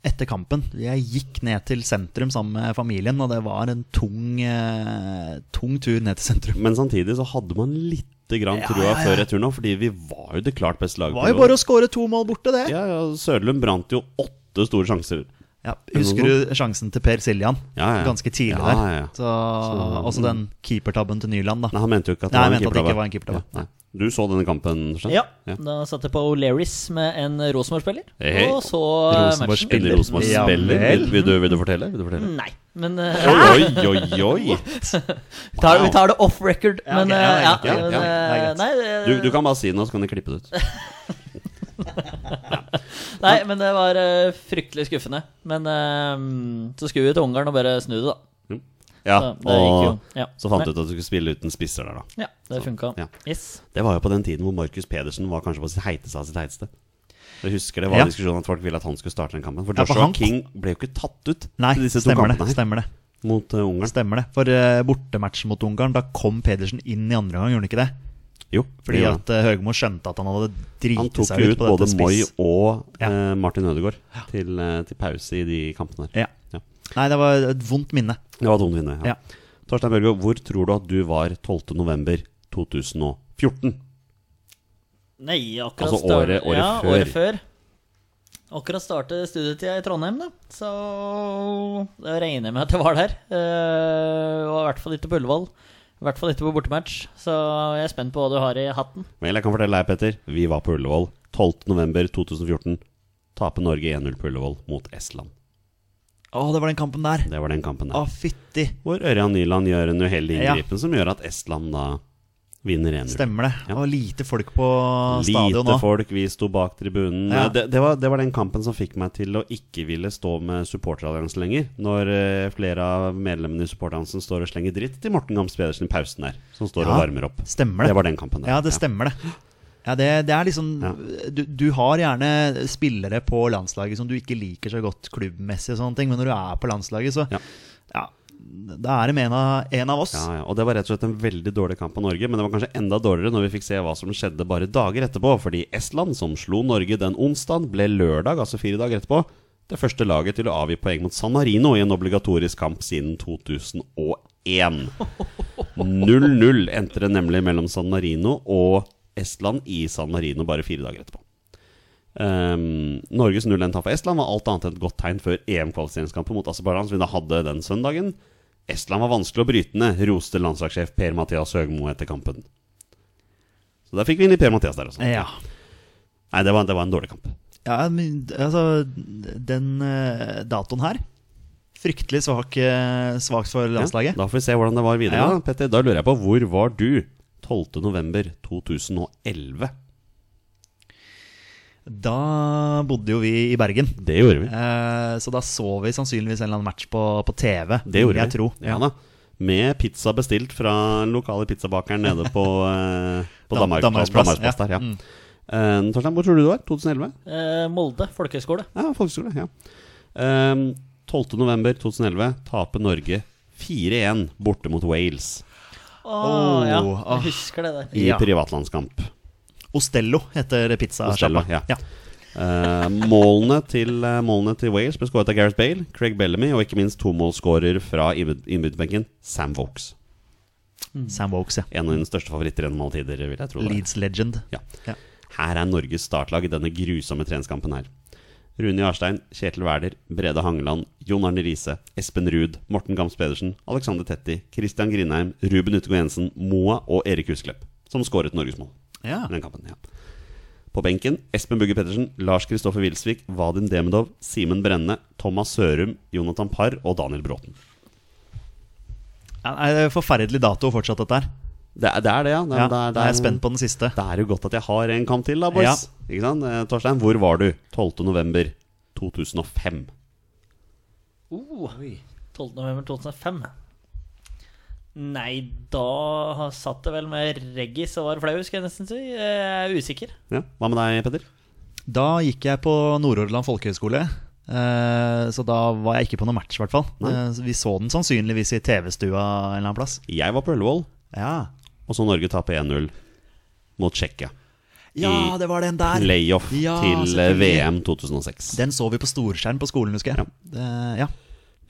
S2: etter kampen. Jeg gikk ned til sentrum sammen med familien, og det var en tung, eh, tung tur ned til sentrum.
S1: Men samtidig så hadde man lite grann
S2: Ja,
S1: trua
S2: ja, ja.
S1: før retur nå, fordi vi var jo det klart beste laget.
S2: Det
S1: på
S2: var jo
S1: Ullevål.
S2: bare å skåre to mål borte, det.
S1: Ja, ja, Søderlund brant jo åtte store sjanser.
S2: Ja, husker du sjansen til Per Siljan?
S1: Ja, ja.
S2: Ganske tidlig
S1: Ja,
S2: der.
S1: ja, ja.
S2: Så, også den keepertabben til Nyland, da.
S1: Nei, han mente jo ikke at det
S2: Nei,
S1: var
S2: han
S1: en
S2: mente at det ikke
S1: keepertabbe.
S2: var en keepertabbe.
S1: Ja, nei. du så denne kampen, Skjønn?
S3: Ja.
S1: ja.
S3: Da satt jeg på O'Learys med en Rosenborg-spiller,
S1: Hei, hei.
S3: og så eh, matchen.
S2: Rosenborg-spiller.
S1: Eller Rosenborg
S2: Ja
S1: spiller.
S2: vel.
S1: Vil, vil, du, vil du fortelle? Vil du fortelle?
S3: Nei, men eh,
S1: Oi, oi, oi, oi!
S3: vi tar- vi tar det off record.
S2: Ja, ok,
S3: Men eh,
S2: ja,
S3: ja,
S2: ja,
S1: ja,
S2: ja,
S1: ja,
S3: men, eh,
S2: det er greit.
S3: nei, det-
S1: Du, du kan bare si det nå, så kan jeg klippe det ut.
S3: Nei, men det var eh, fryktelig skuffende. Men eh, så skulle vi til Ungarn og bare snu det, da.
S1: Ja,
S3: Så det gikk jo.
S1: og
S3: Ja.
S1: så fant du ut at du skulle spille uten spisser der, da.
S3: Ja, det funka.
S1: ja.
S3: Yes.
S1: Det var jo på den tiden hvor Markus Pedersen var kanskje på sitt heiteste av sitt heiteste. Dere husker det var
S2: Ja.
S1: diskusjon at folk ville at han skulle starte den kampen. For
S2: Ja, for
S1: Joshua
S2: han-
S1: King ble jo ikke tatt ut
S2: Nei,
S1: til disse to
S2: stemmer
S1: kampene
S2: det.
S1: her
S2: Stemmer det.
S1: mot eh, Ungarn.
S2: Stemmer det. For eh, bortematchen mot Ungarn, da kom Pedersen inn i andre gang, gjorde han ikke det?
S1: Jo,
S2: Fordi
S1: det gjorde han.
S2: at eh, Høgmo skjønte at han hadde
S1: han
S2: driti
S1: tok
S2: seg
S1: jo
S2: ut
S1: ut
S2: på
S1: både
S2: dette
S1: Moi
S2: spiss.
S1: og
S2: Ja.
S1: eh, Martin Ødegaard til, eh, til pause i de kampene der.
S2: Ja.
S1: Ja.
S2: Nei, det var et vondt minne.
S1: Det var dumt å vinne. Ja.
S2: Ja.
S1: Torstein Børgo, hvor tror du at du var 12.11.2014?
S3: Nei, akkurat
S1: Altså
S3: start-
S1: året- året
S3: ja,
S1: før.
S3: året før. Akkurat startet studietida i Trondheim, da. Så da regner jeg med at jeg var der. Eh, og i hvert fall ikke på Ullevål. I hvert fall ikke på bortematch. Så jeg er spent på hva du har i hatten.
S1: Vel, jeg kan fortelle deg, Petter, vi var på Ullevål 12.11.2014. Tape Norge 1-0 på Ullevål mot Estland.
S2: Å, det var den kampen der!
S1: Det var den kampen
S2: Å,
S1: der.
S2: fytti!
S1: Hvor Ørjan Nyland gjør en uheldig
S2: Ja.
S1: inngripen som gjør at Estland da vinner 1-0.
S2: Stemmer det.
S1: Ja.
S2: Det var lite folk på stadion
S1: Lite
S2: nå.
S1: folk, vi sto bak tribunen.
S2: Ja.
S1: Det, det, var, det var den kampen som fikk meg til å ikke ville stå med supporteralliansen lenger. Når eh, flere av medlemmene i supporteralliansen står og slenger dritt til Morten Gams Pedersen i pausen der, som står
S2: Ja,
S1: og varmer opp.
S2: Stemmer det.
S1: Det var den kampen der.
S2: Ja, det stemmer det. Ja, det, det er liksom du, du har gjerne spillere på landslaget som du ikke liker så godt klubbmessig, og sånne ting, men når du er på landslaget, så
S1: Ja.
S2: ja. da er det med en av, en av oss.
S1: Ja, ja. Og det var rett og slett en veldig dårlig kamp av Norge, men det var kanskje enda dårligere når vi fikk se hva som skjedde bare dager etterpå, fordi Estland, som slo Norge den onsdagen, ble lørdag, altså fire dager etterpå, det første laget til å avgi poeng mot San Marino i en obligatorisk kamp siden 2001. 0-0 endte det nemlig mellom San Marino og Estland i San Marino bare fire dager etterpå. Ehm, Norges 0-1-tap for Estland var alt annet enn et godt tegn før EM-kvalifiseringskampen mot Aserbajdsjan, som vi da hadde den søndagen. Estland var vanskelig å bryte ned, roste landslagssjef Per-Mathias Høgmo etter kampen. Så der fikk vi inn i Per-Mathias der også.
S2: Ja.
S1: Nei, det var, det var en dårlig kamp.
S2: Ja, men altså Den eh, datoen her Fryktelig svak, eh, svakt for landslaget.
S1: Ja, da får vi se hvordan det var videre.
S2: Ja.
S1: Da. Petter, da lurer jeg på hvor var du 12.11.2011?
S2: Da bodde jo vi i Bergen.
S1: Det gjorde vi.
S2: Eh, så da så vi sannsynligvis en eller annen match på, på TV.
S1: Det gjorde
S2: vil jeg
S1: vi.
S2: tro.
S1: Ja da. Med pizza bestilt fra den lokale pizzabakeren nede på, eh, på
S2: Dam-
S1: Danmark,
S2: Danmarksplass,
S1: Danmarksplass
S2: ja. Mm.
S1: der, ja. Eh, Torstein, hvor tror du du var? 2011?
S3: Eh, Molde folkehøgskole.
S1: Ja, folkeskole, ja. Um, 12.11.2011 taper Norge 4-1 borte mot Wales
S3: Å ja,
S2: åh.
S3: jeg husker det der.
S1: i
S2: Ja.
S1: privatlandskamp.
S2: Ostello heter
S1: Ostello,
S2: pizzasjappa.
S1: ja.
S2: Ja.
S1: Eh, målene, til, eh, målene til Wales ble skåret av Gareth Bale, Craig Bellamy og ikke minst tomålsskårer fra innbydd- innbytterbenken, Sam Vokes.
S2: Mm. Sam Wokes, ja.
S1: En av dine største favoritter gjennom alle tider, vil jeg tro. det er.
S2: Leeds legend.
S1: Ja.
S2: Ja.
S1: Her er Norges startlag i denne grusomme treningskampen her. Rune Jarstein, Kjetil Wæler, Brede Hangeland, Jon Arne Riise, Espen Ruud, Morten Gams Pedersen, Alexander Tetti, Christian Grindheim, Ruben Utegård Jensen, Moa og Erik Husklepp, som skåret Norges mål
S2: Ja.
S1: i den kampen. Ja. På benken Espen Bugge Pedersen, Lars Kristoffer Wilsvik, Vadim Demidov, Simen Brenne, Thomas Sørum, Jonathan Parr og Daniel Bråten.
S2: Ja, nei, det er Forferdelig dato fortsatt, dette her.
S1: Det er det, er det ja. Det,
S2: Ja,
S1: det er, det
S2: jeg er spent på den siste.
S1: Det er jo godt at jeg har en kamp til, da, boys. Ikke sant? Eh, Torstein, hvor var du 12. november 2005?
S3: Oh, 12. november 2005. Nei, da satt det vel med reggis og var flau, skal jeg nesten si. Jeg er usikker.
S1: Ja. Hva med deg, Petter?
S2: Da gikk jeg på Nordhordland folkehøgskole. eh, Så da var jeg ikke på noen match, i hvert fall. Eh, så Vi så den sannsynligvis i TV-stua en eller annen plass.
S1: Jeg var på Ullevål,
S2: Ja,
S1: og så Norge taper 1-0 mot Tsjekkia.
S2: ja det var den der!
S1: Layoff
S2: Ja,
S1: til eh,
S2: selvfølgelig.
S1: VM 2006.
S2: Den så vi på storskjerm på skolen, husker jeg. Det- ja.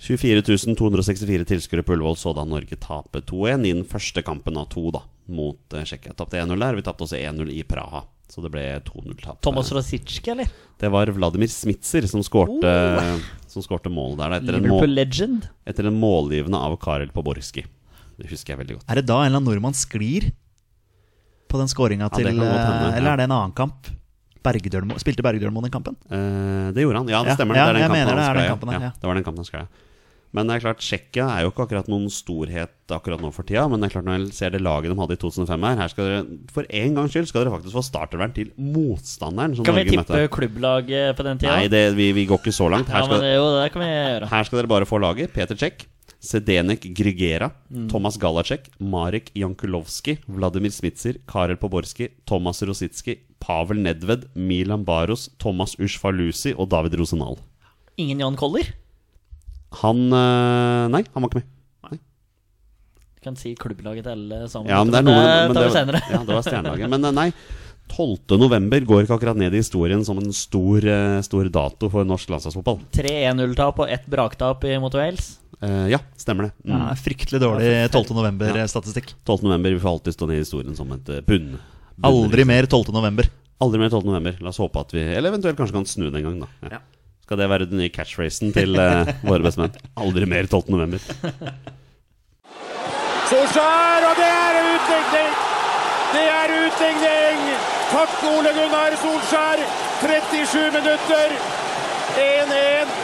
S1: 24 264 tilskuere på Ullevål så da Norge tape 2-1 i den første kampen av to da, mot eh, Tsjekkia. Tapte 1-0 der. Vi tapte også 1-0 i Praha, så det ble 2-0-tap.
S3: Thomas Rosicki, eller?
S1: Det var Vladimir Smitser som skårte, som skårte målet der. da, Etter en mål.
S3: Liverpool legend.
S1: etter en målgivende av Karel Poborski. Det husker jeg veldig godt.
S2: Er det da en eller annen nordmann sklir på den skåringa
S1: det
S2: til
S1: kan godt hende,
S2: eh, Eller
S1: ja.
S2: er det en annen kamp? Bergdølmo, spilte Bergdølmo den kampen?
S1: Eh, det gjorde han. Ja, det
S2: Ja,
S1: stemmer.
S2: ja,
S1: det er den
S2: jeg
S1: kampen
S2: mener
S1: han
S2: det er
S1: skal
S2: den
S1: ja.
S2: kampen der,
S1: ja.
S2: ja.
S1: Det var den kampen han skal ja. Men det er klart, Tsjekkia er jo ikke akkurat noen storhet akkurat nå for tida. Men det er klart når jeg ser det laget de hadde i 2005 her, her skal dere for en gangs skyld skal dere faktisk få startervern til motstanderen som
S3: Kan vi
S1: Norge
S3: tippe
S1: møtte.
S3: klubblaget på den tida?
S1: Nei, det, vi, vi går ikke så langt.
S3: ja,
S1: Her
S3: men
S1: skal,
S3: det, jo, det kan vi gjøre.
S1: her skal dere bare få laget. Peter Tsjekk, Sedenek Grigera, Thomas Galacek, Marek Jankulovski, Vladimir Smitser, Karel Poborski, Thomas Rositski, Pavel Nedved, Milan Baros, Thomas Ushfalusi og David Rosenal.
S3: Ingen Jan Koller?
S1: Han eh, Nei, han var ikke med.
S3: Du kan si klubblaget til alle sammen. Eh,
S1: Ja, men det er noe men
S3: tar vi
S1: det-
S3: senere.
S1: Ja, det var stjernelaget. Men eh, nei, 12. november går ikke akkurat ned i historien som en stor, eh, stor dato for norsk landslagsfotball.
S3: 3-1-0-tap og ett braktap i- mot Wales.
S1: Eh, ja, stemmer det. Mm.
S2: Ja, fryktelig dårlig eh, 12. november-statistikk.
S1: 12. november vil for alltid stå ned i historien som et eh, bunn. bunn-
S2: Aldri mer 12. november.
S1: Aldri mer 12. november. La oss håpe at vi Eller eventuelt kanskje kan snu den en gang, da. Ja. Skal det være den nye catchphrasen til eh, våre bestemenn? Aldri mer 12. november.
S5: Solskjær, og det er utligning! Det er utligning! Takk, Ole Gunnar Solskjær. 37 minutter. 1-1.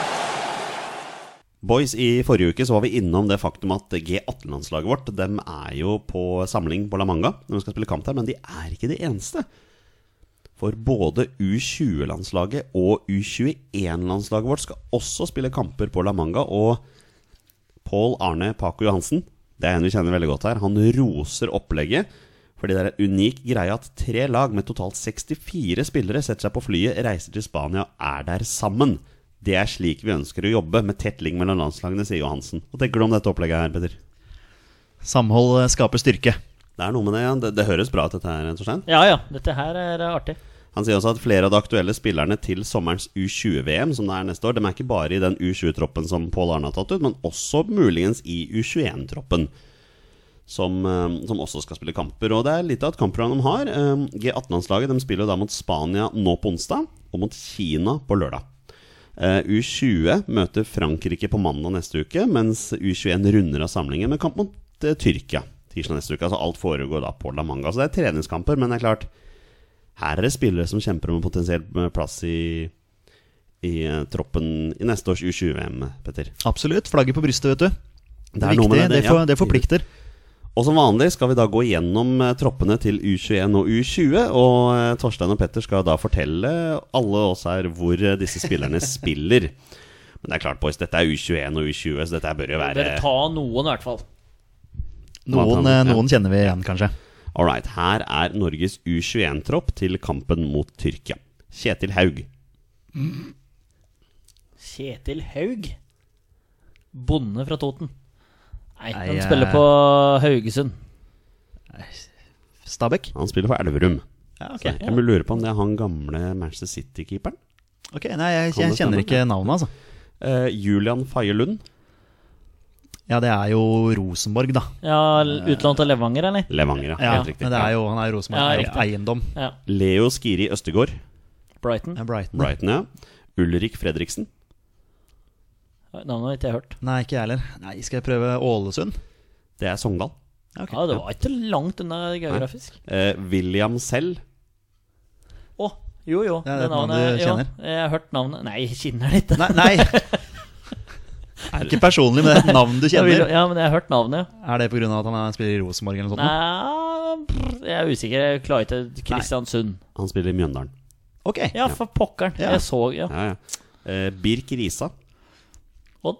S1: Boys, i forrige uke så var vi innom det faktum at G18-landslaget vårt Dem er jo på samling på La Manga når de skal spille kamp der, men de er ikke de eneste. For både U20-landslaget og U21-landslaget vårt skal også spille kamper på La Manga. Og Pål Arne Paco Johansen, det er en vi kjenner veldig godt her, han roser opplegget. Fordi det er en unik greie at tre lag med totalt 64 spillere setter seg på flyet, reiser til Spania og er der sammen. Det er slik vi ønsker å jobbe, med tett link mellom landslagene, sier Johansen. Hva tenker du om dette opplegget her, Petter?
S2: Samhold eh, skaper styrke.
S1: Det er noe med det, ja. Det, det høres bra ut, dette her, Torstein.
S3: Ja ja, dette her er artig.
S1: Han sier også at flere av de aktuelle spillerne til sommerens U20-VM, som det er neste år, de er ikke bare i den U20-troppen som Pål Arne har tatt ut, men også muligens i U21-troppen. Som, eh, som også skal spille kamper. Og det er litt av et kampprogram de har. Eh, G18-landslaget de spiller jo da mot Spania nå på onsdag, og mot Kina på lørdag. Eh, U20 møter Frankrike på mandag neste uke, mens U21 runder av samlingen med kamp mot eh, Tyrkia tirsdag neste uke. Altså alt foregår da på La Manga. Så det er treningskamper, men det er klart her er det spillere som kjemper om en potensiell eh, plass i, i eh, troppen i neste års U20-VM, Petter.
S2: Absolutt. Flagget på brystet, vet du.
S1: Det
S2: Det
S1: er
S2: er
S1: noe
S2: viktig.
S1: med
S2: Det,
S1: det, ja.
S2: for, det forplikter.
S1: Og som vanlig skal vi da gå gjennom eh, troppene til U21 og U20. Og eh, Torstein og Petter skal da fortelle alle oss her hvor eh, disse spillerne spiller. Men det er klart, boys, dette er U21 og U20, så dette her bør jo være
S3: Dere ta noen, i hvert fall.
S2: Noen, eh, noen kjenner vi igjen, kanskje.
S1: All right, her er Norges U21-tropp til kampen mot Tyrkia. Kjetil Haug.
S3: Kjetil Haug. Bonde fra Toten. Nei,
S2: Nei,
S3: han
S2: eh,
S3: spiller på Haugesund.
S2: Stabæk?
S1: Han spiller for Elverum.
S2: Ja,
S1: Så jeg må lure på om det er han gamle Manchester City-keeperen.
S2: Ok, Nei, jeg,
S1: Kan
S2: jeg
S1: det
S2: kjenner
S1: stemme?
S2: ikke navnet, altså.
S1: Eh, Julian Faye Lund.
S2: Ja, det er jo Rosenborg, da.
S3: Ja,
S2: Eh.
S3: utlånt av Levanger, eller?
S1: Levanger, ja.
S2: Ja,
S1: Helt riktig.
S2: men det er jo, han er jo Rosenborg.
S3: Ja,
S2: det er jo
S3: riktig.
S2: eiendom.
S3: Ja.
S1: Leo Skiri Østegård.
S3: Brighton.
S2: Det er Brighton.
S1: Brighton, ja. Ulrik Fredriksen.
S3: Navnet har ikke jeg hørt.
S2: Nei, ikke jeg heller. Nei, skal jeg prøve Ålesund?
S1: Det er Sogndal.
S2: Ok.
S3: Ja, det var ikke langt unna geografisk.
S1: Eh, William selv.
S3: Å, jo jo.
S2: Ja, det er
S3: det
S2: et navn
S3: navnet,
S2: du
S3: jo,
S2: kjenner.
S3: jeg har hørt navnet Nei, jeg kjenner det ikke.
S2: Nei, nei. Ikke personlig, men det er et navn du
S3: Jeg vil-
S2: kjenner.
S3: Ja, men jeg har hørt navnet, ja.
S2: Er det pga. at han er- spiller i Rosenborg eller noe sånt?
S3: Nei, brr, jeg er usikker. Jeg klarer ikke Kristiansund.
S1: Han spiller i Mjøndalen.
S2: Ok.
S3: Ja, for pokkeren.
S2: Ja.
S3: Jeg så ja.
S1: Ja, ja. Eh, Birk Risa.
S3: Odd.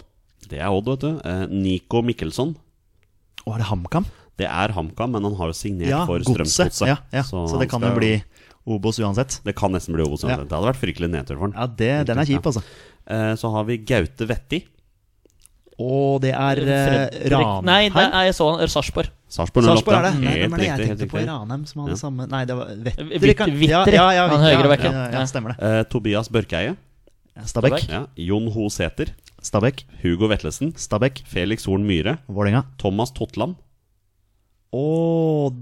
S1: Det er Odd, vet du. Eh, Nico Mikkelsson.
S2: Å, er det HamKam?
S1: Det er HamKam, men han har jo signert
S2: Ja,
S1: for
S2: Godset.
S1: Strømsgodset.
S2: Ja, ja. Så,
S1: han
S2: det kan jo
S1: skal-
S2: bli Obos uansett.
S1: Det kan nesten bli Obos.
S2: Ja.
S1: Det hadde vært fryktelig nedtur for han.
S2: Ja, det, den er kjip, altså.
S1: Eh, så har vi Gaute Vetti.
S2: Og det er eh,
S3: Fredrik- Nei, det
S2: Ranheim.
S3: er, jeg så han. Sarpsborg.
S1: Sarpsborg 08.
S2: Sarpsborg er det. Nei,
S1: Helt
S2: hvem er det jeg
S1: riktig, helt
S2: tenkte på i
S1: riktig.
S2: Ranheim som hadde
S1: Ja.
S2: samme Nei, det var Vetter.
S3: Vitt-
S2: kan-
S3: Vitter,
S2: ja, ja,
S3: han
S2: Vitter, ja,
S3: høyrebekken.
S2: Ja, ja, stemmer det.
S1: Eh, Tobias Børkeie.
S2: Ja, Stabæk.
S1: Ja. Jon Ho Sæther.
S2: Stabæk.
S1: Hugo Vetlesen.
S2: Stabæk.
S1: Felix Horn Myhre.
S2: Vålerenga.
S1: Thomas Totland.
S2: Og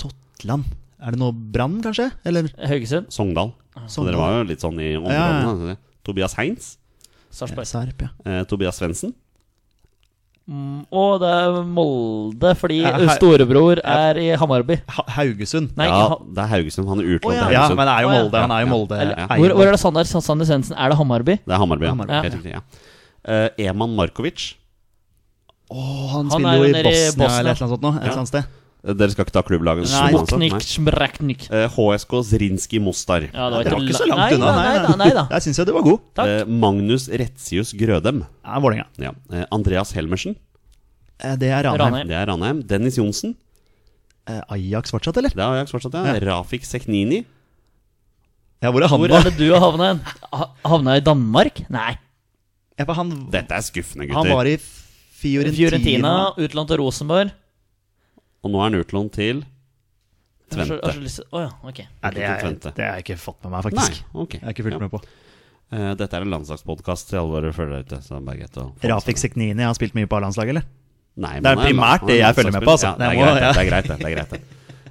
S2: Totland. Er det noe Brann, kanskje? Eller
S3: Haugesund.
S1: Sogndal. Så
S2: Sogndal.
S1: dere var jo litt sånn i
S2: Ja,
S1: områdene. da. Tobias Heins.
S3: Sarpsborg.
S2: Sarp, ja.
S1: Eh, Tobias Svendsen.
S3: Mm, og det er Molde, fordi
S2: Ja, her-
S3: storebror er i Hamarby.
S2: Ha Haugesund.
S3: Nei,
S1: ja,
S3: ha,
S1: det er Haugesund. Han er
S2: Å,
S1: utlånt
S2: ja.
S1: til
S2: ja,
S1: Haugesund.
S2: men det er jo
S3: Å, ja.
S2: Molde. Han er jo Molde.
S1: Eller-
S2: eier.
S3: hvor, hvor er det Sander Sander Svendsen? Er det Hamarby?
S1: Det er Hammarby.
S2: Hammarby,
S1: Ja.
S3: ja.
S1: Helt riktig. Ja. Eh, Eman Markovic.
S2: Å, han
S3: Han
S2: spiller
S3: er
S2: jo
S3: jo
S2: i
S3: nede i
S2: Bosnia,
S3: Bosnia.
S2: eller et eller annet sånt nå. Et eller annet sted.
S1: Eh, Dere skal ikke ta klubblaget?
S2: Nei.
S3: Sputnik Smreknik.
S1: Eh, HSK Zrinski Mostar.
S3: Ja, det var
S2: Det var ikke så
S3: la-
S2: langt
S3: nei,
S2: unna.
S3: Nei, nei, nei, nei da.
S2: Der syns jeg du var god.
S3: takk.
S1: Eh, Magnus Retsius Grødem.
S2: Ja, Vålerenga.
S1: Ja. Eh, Andreas Helmersen.
S2: Eh, Det er Ranheim.
S3: Ranheim.
S1: Det er Ranheim. Dennis Johnsen.
S2: Eh, Ajax fortsatt, eller?
S1: Det har Ajax fortsatt, ja. Rafik Seknini.
S2: Ja, hvor er han,
S3: Hvor
S2: da?
S3: er det du har havna hen? Ha- Havna i Danmark? Nei.
S2: Ja, for han,
S1: Dette er skuffende,
S2: han
S1: gutter.
S2: var i Fiorentina.
S3: Fiorentina, utlånt til Rosenborg.
S1: Og nå er han utlånt til
S3: Jeg har så- jeg har
S1: Tvente.
S3: så lyst til- Å ja, ok.
S2: Nei, det, er,
S1: Tvente.
S2: det har jeg ikke fått med meg,
S1: Nei,
S2: faktisk.
S1: ok.
S2: Jeg har ikke fulgt
S1: Ja.
S2: med på.
S1: Eh, Dette er en landslagspodkast til alle våre følgere ute. Så det er bare greit å få
S2: Rafik Seknini har spilt mye på A-landslaget, eller?
S1: Nei, men
S2: Det er
S1: han en-
S2: primært
S1: han
S2: det
S1: er
S2: jeg
S1: en
S2: følger med
S1: landslagsspiller.
S2: på, altså.
S1: Ja, det,
S2: Jeg må-
S1: er greit,
S2: ja.
S1: det er greit, det. det er greit det.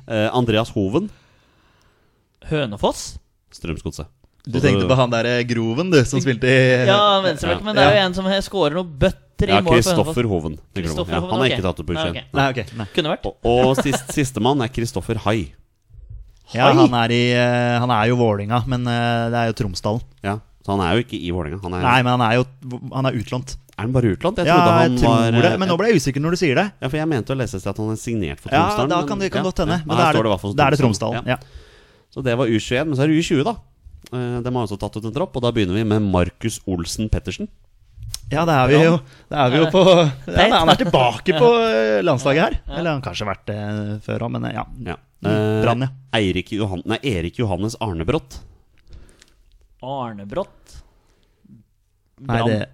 S1: Eh, Andreas Hoven,
S3: Hønefoss?
S1: Strømsgodset.
S2: Du tenkte på han derre Groven, du, som spilte i
S3: Ja, venstreback, men det er jo en som skårer noen bøtter i
S1: Ja,
S3: mål for Hønefoss.
S1: Kristoffer Hoven. tenker du på.
S3: Kristoffer
S1: Ja,
S3: Hoven,
S1: han er
S3: ok.
S1: ikke tatt opp på
S3: Nei,
S1: U21.
S3: ok.
S2: Nei, ok. Nei.
S3: Kunne vært.
S1: Og, og sist, sistemann er Kristoffer Hai.
S2: Ja, han er, i, eh, han er jo Vålinga, men eh, det er jo Tromsdalen.
S1: Ja, så han er jo ikke i Vålerenga. Han er,
S2: Nei, men han er jo han er utlånt.
S1: er han bare utlånt? Jeg
S2: Ja,
S1: trodde han
S2: jeg tror
S1: var eh,
S2: det. Men nå ble jeg usikker når du sier det.
S1: Ja, for jeg mente å lese et sted at han er signert for
S2: Ja,
S1: Tromsdalen.
S2: da
S1: men-
S2: kan det kan
S1: ja,
S2: godt hende.
S1: ja.
S2: Men
S1: Her
S2: da er
S1: står
S2: det,
S1: i hvert fall
S2: da er det Tromsdalen.
S1: Ja.
S2: Ja.
S1: Så det var U21, men så er det U20, da. Eh, De har også tatt ut en tropp, og da begynner vi med Markus Olsen Pettersen.
S2: Ja, det er vi jo, det er vi jo på ja, Han er tilbake på eh, landslaget her. Eller han har kanskje vært det før òg, men eh, ja.
S1: Ja.
S2: Mm, Brann, ja.
S1: Eh, Eirik Johan nei, Erik Johannes Arnebrott.
S3: Arnebrott?
S2: Nei,
S3: Brann.
S2: det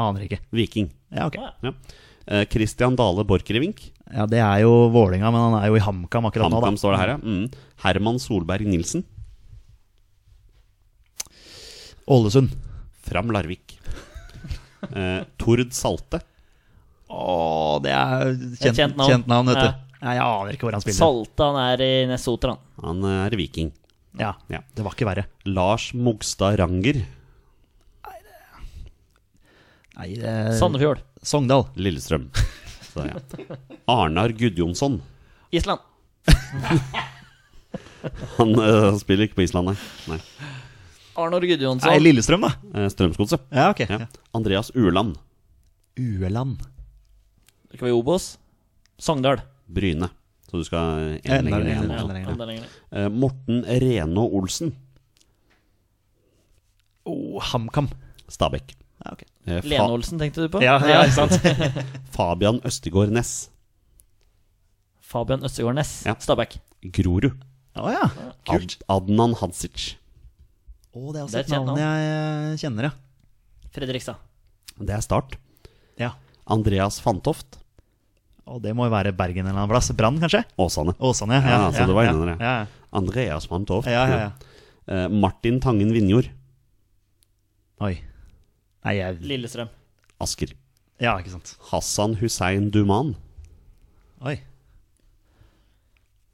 S2: aner jeg ikke.
S1: Viking.
S2: Ja, ok.
S1: Ja. Eh, Christian Dale Borchgrevink.
S2: Ja, Det er jo Vålinga, men han er jo i HamKam akkurat nå, da.
S1: HamKam står det her, ja. Mm. Herman Solberg Nilsen.
S2: Ålesund.
S1: Fram Larvik. Eh, Tord Salte.
S2: Å, det er
S3: Et
S2: kjent,
S3: kjent
S2: kjent,
S3: navn.
S2: navn. vet
S3: Ja.
S2: du. Nei, Jeg aner ikke hvor han spiller.
S3: Salte, han er i Nessoter, han.
S1: Han er viking.
S2: Ja,
S1: Ja.
S2: Det var ikke verre.
S1: Lars Mogstad Ranger.
S2: Nei, det...
S3: Sandefjord.
S2: Sogndal.
S1: Lillestrøm. Så, ja. Arnar Gudjonsson.
S3: Island.
S1: Han eh, spiller ikke på Island, nei. nei.
S3: Arnor Gudjonsson.
S2: Nei, Lillestrøm, da.
S1: Eh, Strømsgodset.
S2: Ja, ok.
S1: Ja.
S2: Ja.
S1: Andreas Ueland.
S2: Ueland.
S3: Skal vi i Obos? Sogndal.
S1: Bryne. Så du skal
S2: Enda
S1: en lenger
S2: lenger
S1: ned.
S2: ned.
S1: også.
S2: lenger.
S3: enda lenger.
S1: Eh, Morten Reno Olsen.
S2: Oh, HamKam.
S1: Stabæk.
S2: Ja, ok.
S1: Eh, Fa
S3: Lene Olsen tenkte du på?
S2: Ja, ja, ikke sant?
S1: Fabian Østegård Næss.
S3: Fabian Østegård Næss.
S1: Ja.
S3: Stabæk.
S1: Grorud.
S2: Å ja.
S1: Ad Adnan Hadzic.
S2: Å, det er
S3: Det
S2: også
S3: er
S2: et
S3: et kjent
S2: navn jeg kjenner, ja.
S3: Fredrikstad.
S1: Det er start.
S2: ja.
S1: Andreas Fantoft.
S2: Og det må jo være Bergen eller en annen plass. Brann, kanskje?
S1: Åsane.
S2: Åsane, ja.
S1: Ja, så det var
S2: ja,
S1: innunder det.
S2: Ja,
S1: Andreas Fantoft.
S2: ja, ja. ja, ja.
S1: Eh, Martin Tangen Vinjord.
S2: Oi. Nei, jeg
S3: Lillestrøm.
S1: Asker.
S2: Ja, ikke sant.
S1: Hassan Hussein Duman.
S2: Oi.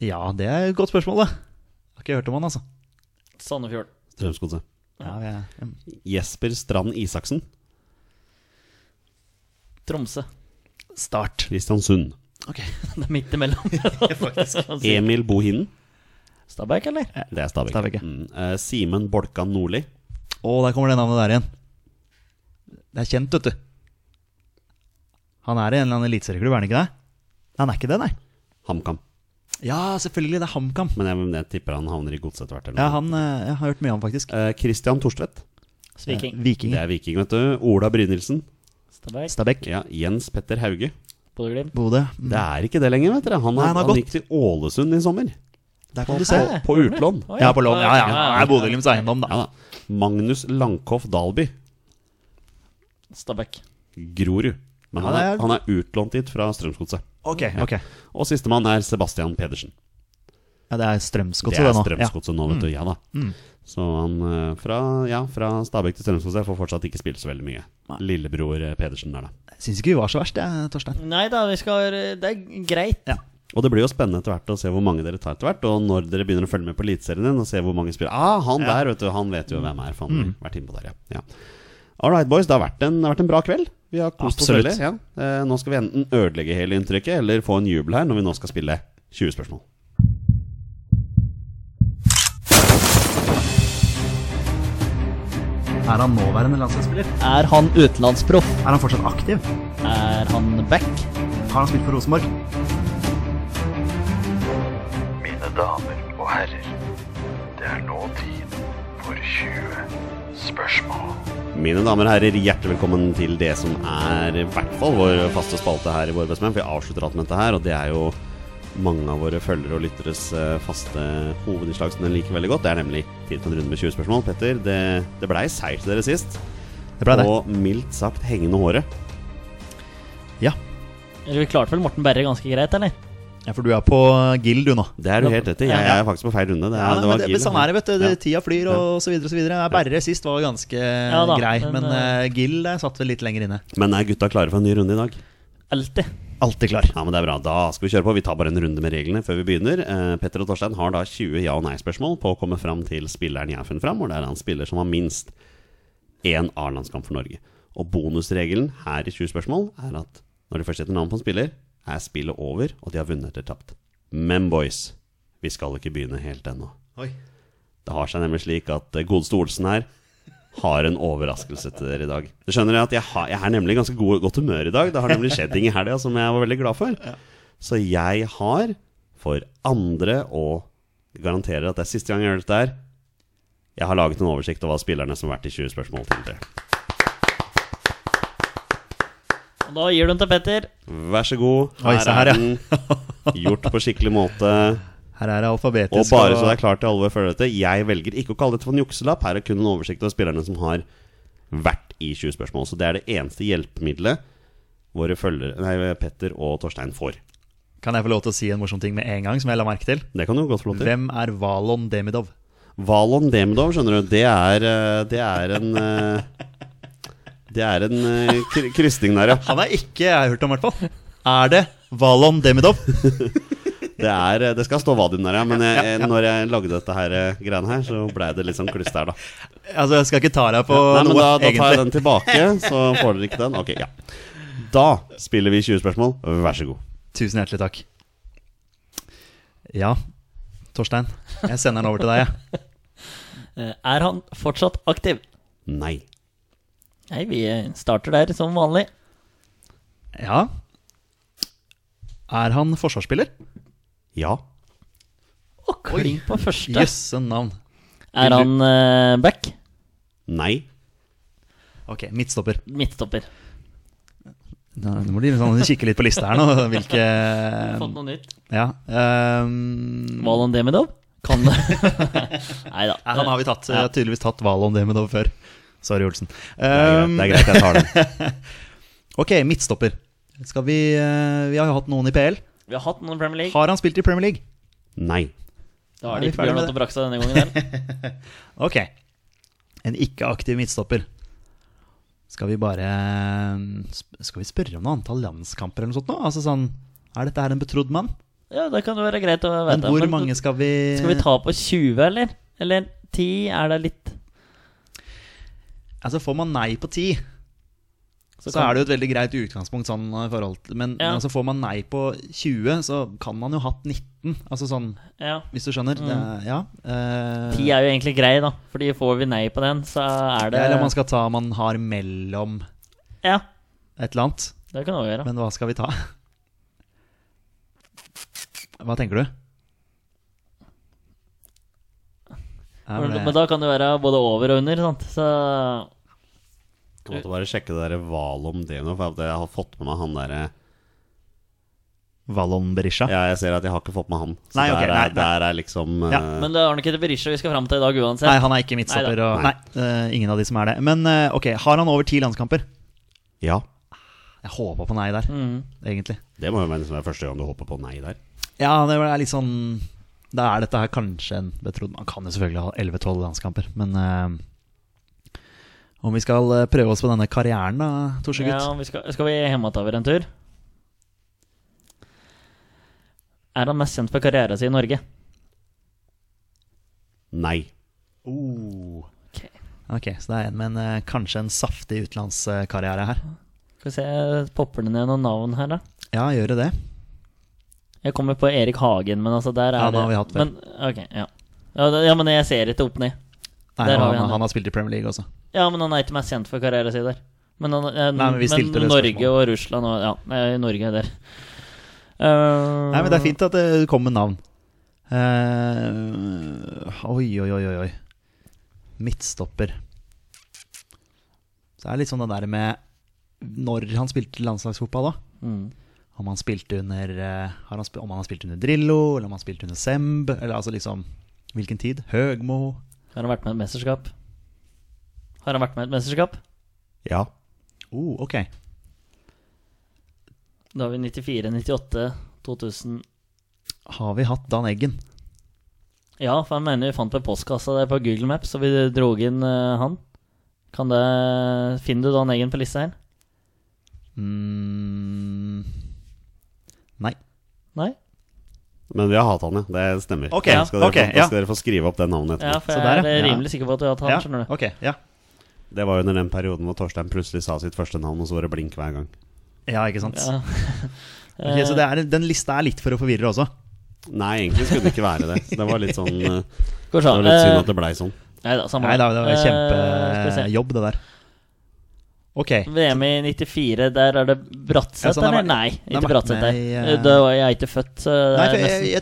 S2: Ja, det er et godt spørsmål, da. Har ikke hørt om han, altså.
S3: Sandefjord.
S1: Strømsgodset.
S2: Ja, ja. Mm.
S1: Jesper Strand Isaksen.
S3: Tromsø.
S2: Start.
S1: Kristiansund.
S2: Ok.
S3: Det er midt imellom.
S1: Emil Bohinen.
S3: Stabæk, eller?
S1: Det er Stabæk.
S2: Stabæk, ja.
S1: Mm. Eh, Simen Bolkan Nordli.
S2: Å, der kommer det navnet der igjen. Det er kjent, vet du. Han er i en eller annen eliteserieklubb, er han ikke det? Han er ikke det, nei.
S1: HamKam.
S2: Ja, selvfølgelig. Det er HamKam.
S1: Men jeg, jeg tipper han havner i godset hvert. eller
S2: Ja,
S1: noe.
S2: han eh, jeg har hørt mye om, faktisk.
S1: Eh, Christian Torstvedt.
S3: Sviking.
S1: Det
S2: Viking.
S1: er viking, vet du. Ola Brynildsen.
S3: Stabæk.
S2: Stabæk.
S1: Ja, Jens Petter Hauge.
S3: Bodø-Glimt.
S2: Bodø.
S1: Det er ikke det lenger, vet dere. Han,
S2: Nei, han
S1: han,
S2: har gått.
S1: gikk til Ålesund i sommer.
S2: Der kan du se.
S1: På, på utlån.
S3: Oi,
S2: Ja, på lån. Ja, ja. Det er Bodø-Glimts eiendom, da.
S1: Ja da. Magnus Langkoff Dalby.
S3: Stabæk.
S1: Grorud. Men han
S2: Ja, det
S1: er,
S2: er-
S1: han er utlånt dit fra Strømsgodset.
S2: Ok, ok.
S1: Og sistemann er Sebastian Pedersen.
S2: Ja, det er
S1: Det
S2: Strømsgodset,
S1: er
S2: det nå. Mm.
S1: Strømsgodset nå, vet du. Ja da. Så han eh, fra, ja, fra Stabæk til Strømsgodset får fortsatt ikke spilt så veldig mye. Lillebror eh, Pedersen der, da.
S2: Ja. Syns ikke vi var så verst, jeg, Torstein.
S3: Nei da, vi skal Det er greit.
S1: Og det blir jo spennende etter hvert å se hvor mange dere tar etter hvert. Og når dere begynner å følge med på Eliteserien din og se hvor mange spiller Ah, han der, vet du. Han vet jo hvem er. For han har vært inne på der, ja. ja. All right, boys. Det har vært en, det har vært en bra kveld. Vi har kost oss
S2: Absolutt.
S1: veldig. Ja. Eh, nå skal vi enten ødelegge hele inntrykket eller få en jubel her når vi nå skal spille 20 spørsmål.
S2: Er han nåværende landslagsspiller?
S3: Er han utenlandsproff?
S2: Er han fortsatt aktiv?
S3: Er han back?
S2: Har han spilt for Rosenborg?
S7: Mine damer og herrer, det er nå tid for 20
S4: spørsmål.
S1: Mine damer og herrer, hjertelig velkommen til det som er i hvert fall vår faste spalte her i Våre bestemenn. For vi avslutter alt med dette her, og det er jo mange av våre følgere og lytteres eh, faste hovedinnslag som den liker veldig godt. Det er nemlig tid for en runde med 20 spørsmål. Petter, det, det blei seier til dere sist.
S2: Det ble det.
S1: Og mildt sagt hengende håret.
S2: Ja.
S3: Eller vi klarte vel Morten Berre ganske greit, eller?
S2: ja, for du er på Gild, du nå.
S1: Det er du helt rett i. Jeg er faktisk på feil runde. Det, er-
S2: Ja,
S1: det
S2: men
S1: var
S2: det,
S1: Gil.
S2: men sånn er det, vet du. Det-
S1: Ja.
S2: Tida flyr, og så videre og så videre. Ja, Berre sist var ganske
S3: da,
S2: grei,
S3: men,
S2: men eh, Gill eh, satt vel litt lenger inne.
S1: Men er gutta klare for en ny runde i dag?
S3: Alltid.
S2: Alltid klar.
S1: Ja, men det er bra. Da skal vi kjøre på. Vi tar bare en runde med reglene før vi begynner. Eh, Petter og Torstein har da 20 ja- og nei-spørsmål på å komme fram til spilleren jeg har funnet fram, og det er han spiller som har minst én A-landskamp for Norge. Og bonusregelen her i 20 spørsmål er at når de først setter navn på en spiller, er spillet over, og de har vunnet eller tapt. Men boys, vi skal ikke begynne helt ennå.
S2: Oi.
S1: Det har seg nemlig slik at eh, Godeste Olsen her har en overraskelse til dere i dag. Du skjønner at jeg, har, jeg er nemlig i ganske god, godt humør i dag. Det har nemlig skjedd ting i helga som jeg var veldig glad for. Så jeg har, for andre, og jeg garanterer at det er siste gang jeg gjør dette her, jeg har laget en oversikt over spillerne som har vært i 20 spørsmål til dere.
S3: Og da gir du den til Petter.
S1: Vær så god.
S2: Oi, se her, ja.
S1: den gjort på skikkelig måte.
S2: Her er det
S1: Og
S2: alfabetisk.
S1: bare så det er klart til alle følgere dette, jeg velger ikke å kalle dette for en jukselapp. Her er kun en oversikt over spillerne som har vært i 20 spørsmål. Så det er det eneste hjelpemiddelet våre følgere, nei, Petter og Torstein får.
S2: Kan jeg få lov til å si en morsom ting med en gang, som jeg la merke til?
S1: Det kan du godt få lov til.
S2: Hvem er Valon Demidov?
S1: Valon Demidov, skjønner du, det er, eh, det er en eh, Det er en eh, kr- krysning der, ja.
S2: Han er ikke jeg har hørt om, i hvert fall. Er det Valon Demidov?
S1: Det, er, eh, det skal stå Vadim der, ja. Men jeg, jeg- når jeg lagde dette her, eh, greiene her, så blei det litt sånn kluss der, da.
S2: Altså, jeg skal ikke ta deg på
S1: Nei, men
S2: noe,
S1: da, da tar jeg
S2: egentlig.
S1: den tilbake, så får dere ikke den. Ok, ja. Da spiller vi 20 spørsmål. Vær så god.
S2: Tusen hjertelig takk. Ja, Torstein. Jeg sender den over til deg, jeg.
S3: Eh, Er han fortsatt aktiv?
S1: Nei.
S3: Nei, vi eh, starter der som vanlig.
S2: Ja. Er han forsvarsspiller?
S1: Ja.
S3: Og klink på første.
S2: Jøsse navn.
S3: Er han eh, back?
S1: Nei.
S2: Ok, midtstopper.
S3: Midtstopper.
S2: Nå nå må du liksom kikke litt på lista her nå, hvilke
S3: Fått noe nytt?
S2: Ja. ehm,
S3: Valon Demidov? Kan det Nei da.
S2: Nei, han har vi tatt. Jeg har tydeligvis tatt Valon Demidov før. Sorry, Olsen. Ehm,
S1: Det er, greit, det er greit, jeg tar
S2: Um.
S1: den.
S2: Ok, midtstopper. Skal vi eh, Vi har jo hatt noen i PL.
S3: Vi har hatt noen i Premier League.
S2: Har han spilt i Premier League?
S1: Nei.
S2: er
S3: Da har
S2: vi
S3: de ikke
S2: ferdig
S3: Bjørn
S2: med
S3: Otto Brakstad denne gangen. Der.
S2: Ok. En ikke-aktiv midtstopper. Skal vi bare eh, sp- Skal vi spørre om noe antall landskamper eller noe sånt nå? Altså sånn Er dette her en betrodd mann?
S3: Ja, det kan jo være greit å
S2: Men
S3: vite.
S2: hvor mange skal vi
S3: Skal vi ta på 20, eller? Eller 10? Er det litt
S2: Altså, får man nei på ti, så,
S3: kan-
S2: er det jo et veldig greit utgangspunkt sånn i forhold til Men,
S3: Ja.
S2: men altså, får man nei på 20, så kan man jo hatt 19. Altså sånn,
S3: Ja.
S2: hvis du skjønner. Det, er- ja. eh,
S3: 10 Mm. er jo egentlig grei, da. Fordi får vi nei på den, så er det
S2: Eller om man skal ta man har mellom
S3: Ja,
S2: et eller annet.
S3: det kan vi også gjøre.
S2: Men hva skal vi ta? Hva tenker du? Ja,
S3: Men,
S2: men det-
S3: men da kan det være både over og under, sant? Så
S1: Jeg måtte bare sjekke det der Valom Deno, for at jeg har fått med meg han derre
S2: Vallon Berisha?
S1: Ja, jeg ser at jeg har ikke fått med han. Så
S2: Nei, ok,
S1: der,
S2: nei,
S1: er, der er liksom eh,
S2: Ja,
S3: Men det er nok ikke det Berisha vi skal fram til i dag uansett.
S2: Nei, han er ikke midtstopper.
S3: Neida.
S2: og- Nei, eh, ingen av de som er det. Men eh, ok, har han over ti landskamper?
S1: ja.
S2: Jeg håpa på nei der,
S3: Mm.
S2: egentlig.
S1: Det må jo være liksom være første gang du hopper på nei der.
S2: Ja, det er litt sånn Da er dette her kanskje en betrodd Man kan jo selvfølgelig ha 11-12 landskamper, men eh, om vi skal eh, prøve oss på denne karrieren, da, Torsegutt?
S3: Ja, vi skal, skal vi hjemme ta over en tur? Er han mest kjent for karrieren sin i Norge?
S1: Nei.
S2: Oh. Ok, så det er en med en, eh, kanskje en saftig utenlandskarriere her.
S3: Skal vi se, Popper det ned noen navn her, da?
S2: Ja, gjør det det?
S3: Jeg kommer på Erik Hagen, men altså der er
S2: Ja, det har vi hatt før.
S3: men, ok, ja. Ja, det- ja, men jeg ser ikke opp ned.
S2: Nei,
S3: Der har
S2: han,
S3: vi han,
S2: han
S3: ja.
S2: har spilt i Premier League også.
S3: Ja, men han er ikke mest kjent for karrieren sin der. Men, han, eh,
S2: Nei, men vi stilte det
S3: Norge
S2: spørsmålet.
S3: og Russland og Ja, eh, Norge der. Eh,
S2: Nei, men det er fint at det kom med navn. Eh, oi, oi, oi, oi, oi. Midtstopper. Så det er litt sånn det der med når han spilte landslagsfotball, da.
S3: mm.
S2: Om han spilte under eh, har han, sp- Om han har spilt under Drillo, eller om han spilte under Semb, eller altså liksom Hvilken tid? Høgmo?
S3: Har han vært med i et mesterskap? Har han vært med i et mesterskap?
S1: Ja.
S2: Oh, ok.
S3: Da har vi 94, 98, 2000
S2: Har vi hatt Dan Eggen?
S3: Ja, for han mener vi fant på postkassa der på Google Maps, og vi dro inn eh, han. Kan det Finner du da en egen på lista her?
S2: Mm, nei.
S3: Nei?
S1: Men vi har hatt han, ja. Det stemmer.
S2: Ok,
S1: da, skal dere
S2: ok,
S1: få, da
S2: ja.
S1: skal dere få skrive opp det navnet
S3: Ja,
S1: etterpå.
S3: for
S2: Så
S3: jeg
S2: der,
S3: er
S2: ja.
S3: rimelig sikker på at du har hatt han, skjønner du.
S2: Ok, ja.
S1: Det var jo under den perioden hvor Torstein plutselig sa sitt første navn, og så var det blink hver gang.
S2: ja, ikke sant.
S3: Ja.
S2: Ok,
S3: Eh,
S2: så det er, den lista er litt for å forvirre også.
S1: Nei, egentlig skulle det ikke være det. Så det var litt sånn eh,
S3: Går
S1: Det var
S3: sånn.
S1: litt synd at det blei sånn.
S3: Nei da, samme
S2: Nei da, det var
S3: Eh, skal vi se.
S2: kjempejobb, det der. Ok.
S3: VM i 94, der er det
S2: Ja,
S3: Bratseth,
S2: så han har
S3: eller?
S2: vært-
S3: Nei,
S2: han har
S3: ikke
S2: vært
S3: Bratseth
S2: med
S3: der.
S2: i,
S3: Eh,
S2: eh,
S3: Da var jeg ikke født, så
S2: Nei,
S3: det er
S2: for jeg,
S3: nesten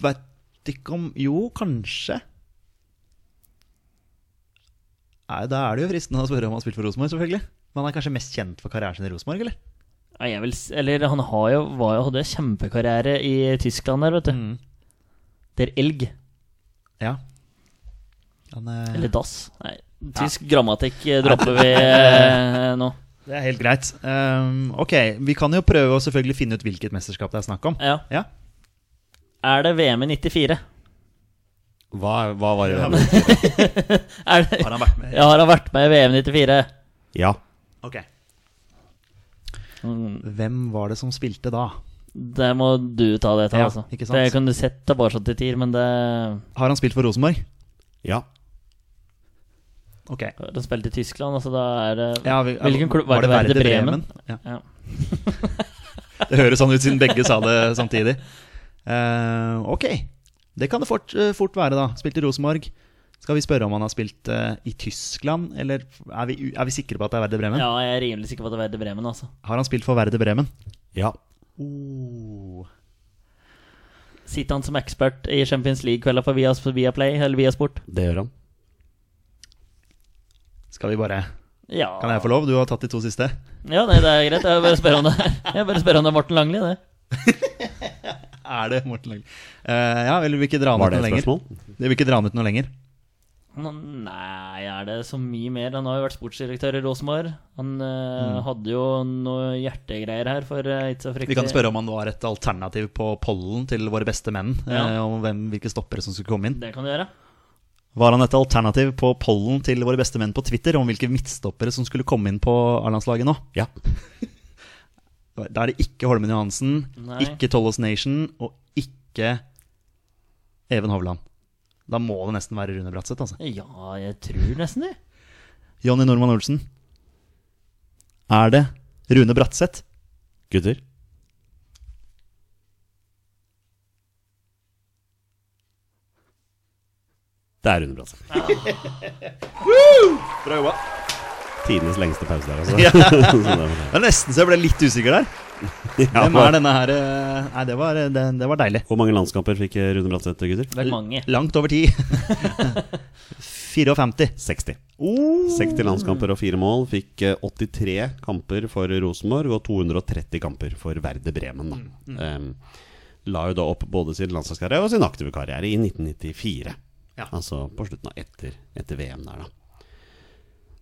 S2: jeg vet ikke om Jo, kanskje. Nei, Da er det jo fristende å spørre om han har spilt for Rosenborg, selvfølgelig. Men han er kanskje mest kjent for karrieren sin i Rosenborg, eller?
S3: Nei, jeg vil, s- Eller han har jo, var jo, hadde jo kjempekarriere i Tyskland der, vet du.
S2: Mm.
S3: Der Elg,
S2: Ja. Han, eh,
S3: eller Das. Nei, tysk grammatikk eh, dropper vi eh, nå.
S2: det er helt greit. Um, ok, vi kan jo prøve å selvfølgelig finne ut hvilket mesterskap det er snakk om.
S3: Ja.
S2: Ja,
S3: Er det VM i 94?
S1: Hva, hva var det?
S3: Er det,
S2: Har han vært med?
S3: ja, har han vært med i VM i 94?
S1: Ja.
S2: Ok.
S3: Mm,
S2: Hvem var det som spilte da?
S3: Det må du ta det til,
S2: Ja,
S3: altså.
S2: ikke sant?
S3: Det kunne du sett tilbake sånn til tider, men det
S2: Har han spilt for Rosenborg?
S1: Ja.
S2: Ok.
S3: De spilte i Tyskland, altså da er det
S2: Ja, vi-
S3: Hvilken klubb var det? Var det Bremen?
S2: Ja.
S3: Ja.
S2: Det høres sånn ut siden begge sa det samtidig. Eh, ok, det kan det fort, eh, fort være, da. Spilt i Rosenborg. Skal vi spørre om han har spilt eh, i Tyskland, eller er vi, u- er vi sikre på at det er Werder Bremen?
S3: Ja, jeg er rimelig sikker på at det var Werder Bremen, altså.
S2: Har han spilt for Werder Bremen?
S1: Ja.
S2: Oh.
S3: Sitter han som ekspert i Champions League-kvelda på Vias- Viaplay eller Viasport?
S1: Det gjør han.
S2: Skal vi bare
S3: Ja.
S2: Kan jeg få lov? Du har tatt de to siste.
S3: Ja, nei, det er greit. Jeg bare spør om det Jeg bare spør om det er Morten Langli, det.
S2: Er det Morten Langli? Eh, ja, eller vil ikke dra han
S1: Var
S2: ut
S1: det
S2: noe
S1: et
S2: lenger?
S1: spørsmål?
S2: Det vil ikke dra han ut noe lenger.
S3: Nå- Nei, er det så mye mer? Han har jo vært sportsdirektør i Rosenborg. Han eh, hadde jo noe hjertegreier her for eh, ikke så
S2: Vi
S3: fryktelig
S2: kan spørre om han var et alternativ på pollen til våre beste menn.
S3: Ja.
S2: eh, Om hvem, hvilke stoppere som skulle komme inn.
S3: Det kan du gjøre.
S2: Var han et alternativ på pollen til våre beste menn på Twitter om hvilke midtstoppere som skulle komme inn på A-landslaget nå?
S1: Ja.
S2: Da er det ikke Holmen Johansen,
S3: Nei.
S2: ikke Tollås Nation og ikke Even Hovland. Da må det nesten være Rune Bratseth, altså.
S3: Ja, jeg tror nesten det.
S2: Jonny Normann Olsen. Er det Rune Bratseth?
S1: Gutter? Det er altså. Rune Bratseth.
S2: Bra jobba.
S1: Tidenes lengste pause der, altså. Så det var-
S2: Det er nesten så jeg ble litt usikker der.
S1: Ja,
S2: Hvem er denne her eh, Nei, det var, det, det var deilig.
S1: Hvor mange landskamper fikk eh, Rune Bratseth, gutter?
S3: Det er mange.
S2: Langt over 10. 54.
S1: 60.
S2: Oh.
S1: 60 landskamper og fire mål. Fikk eh, 83 kamper for Rosenborg og 230 kamper for Werder Bremen. Da.
S2: Mm,
S1: Em, la jo da opp både sin landslagskarriere og sin aktive karriere i 1994.
S2: Ja.
S1: Altså på slutten av etter, etter VM der, da.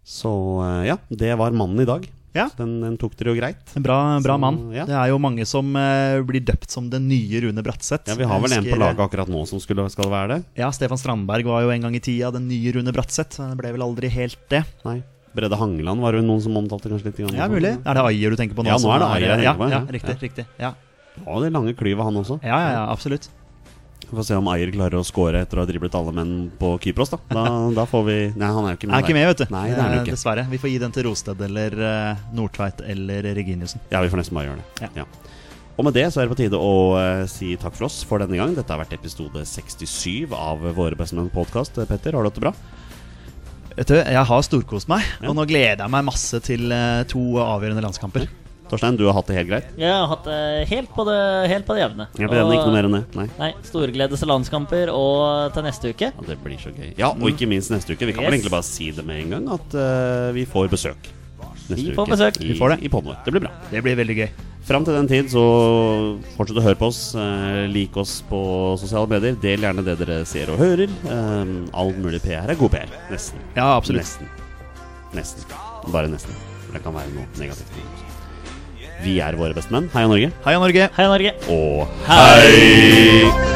S1: Så eh, ja, det var mannen i dag.
S2: Ja.
S1: Så Den, den tok dere jo greit.
S2: En bra, bra
S1: Så,
S2: mann.
S1: ja.
S2: Det er jo mange som eh, blir døpt som den nye Rune Bratseth.
S1: Ja, Vi har vel en
S2: Husker-
S1: på laget akkurat nå som skulle, skal være det.
S2: Ja, Stefan Strandberg var jo en gang i tida den nye Rune Bratseth. men Det ble vel aldri helt det.
S1: Nei. Bredde Hangeland var det noen som omtalte kanskje litt. grann
S2: Ja,
S1: også.
S2: mulig. Er det Ayer du tenker på nå?
S1: Ja, nå
S2: som
S1: er det Ayer jeg
S2: ja,
S1: tenker på,
S2: ja,
S1: ja.
S2: riktig. riktig ja.
S1: Ja, det lange klyvet, han også.
S2: ja, ja, ja, absolutt.
S1: Vi får se om Ayer klarer å score etter å ha driblet alle menn på Kypros, da. Da, da får vi Nei, han er jo ikke med.
S2: Er ikke
S1: der.
S2: med, vet du.
S1: Nei, det er han
S2: Eh,
S1: jo ikke.
S2: Dessverre. Vi får gi den til Rosted eller eh, Nordtveit eller Reginiussen.
S1: Ja, vi får nesten bare gjøre det.
S2: Ja.
S1: Ja. Og med det så er det på tide å eh, si takk for oss for denne gang. Dette har vært episode 67 av Våre bestemenn-podkast. Petter, har du hatt det bra?
S2: Vet du, jeg har storkost meg,
S1: Ja.
S2: og nå gleder jeg meg masse til eh, to avgjørende landskamper.
S1: Torstein, du har hatt det helt greit?
S3: Jeg har hatt det helt på det, helt på det jevne.
S1: Jeg ble enig, ikke noe mer enn det. Nei.
S3: Nei, storgledes til landskamper og til neste uke.
S1: Ja, det blir så gøy. Ja, og ikke minst neste uke. Vi kan vel
S3: Mm. Yes.
S1: egentlig bare si det med en gang, at eh, vi får besøk. neste
S3: Vi får besøk.
S1: I,
S2: Vi får det.
S1: i Podmore. Det blir bra.
S2: Det blir veldig gøy.
S1: Fram til den tid så fortsett å høre på oss. Eh, lik oss på sosiale medier. Del gjerne det dere ser og hører. Eh, all mulig PR er god PR. Nesten.
S2: Ja, absolutt.
S1: Nesten. Nesten. Bare nesten. For det kan være noe negativt. Vi er våre bestemenn. Heia Norge.
S2: Heia Norge!
S3: Hei, Norge!
S1: Og hei!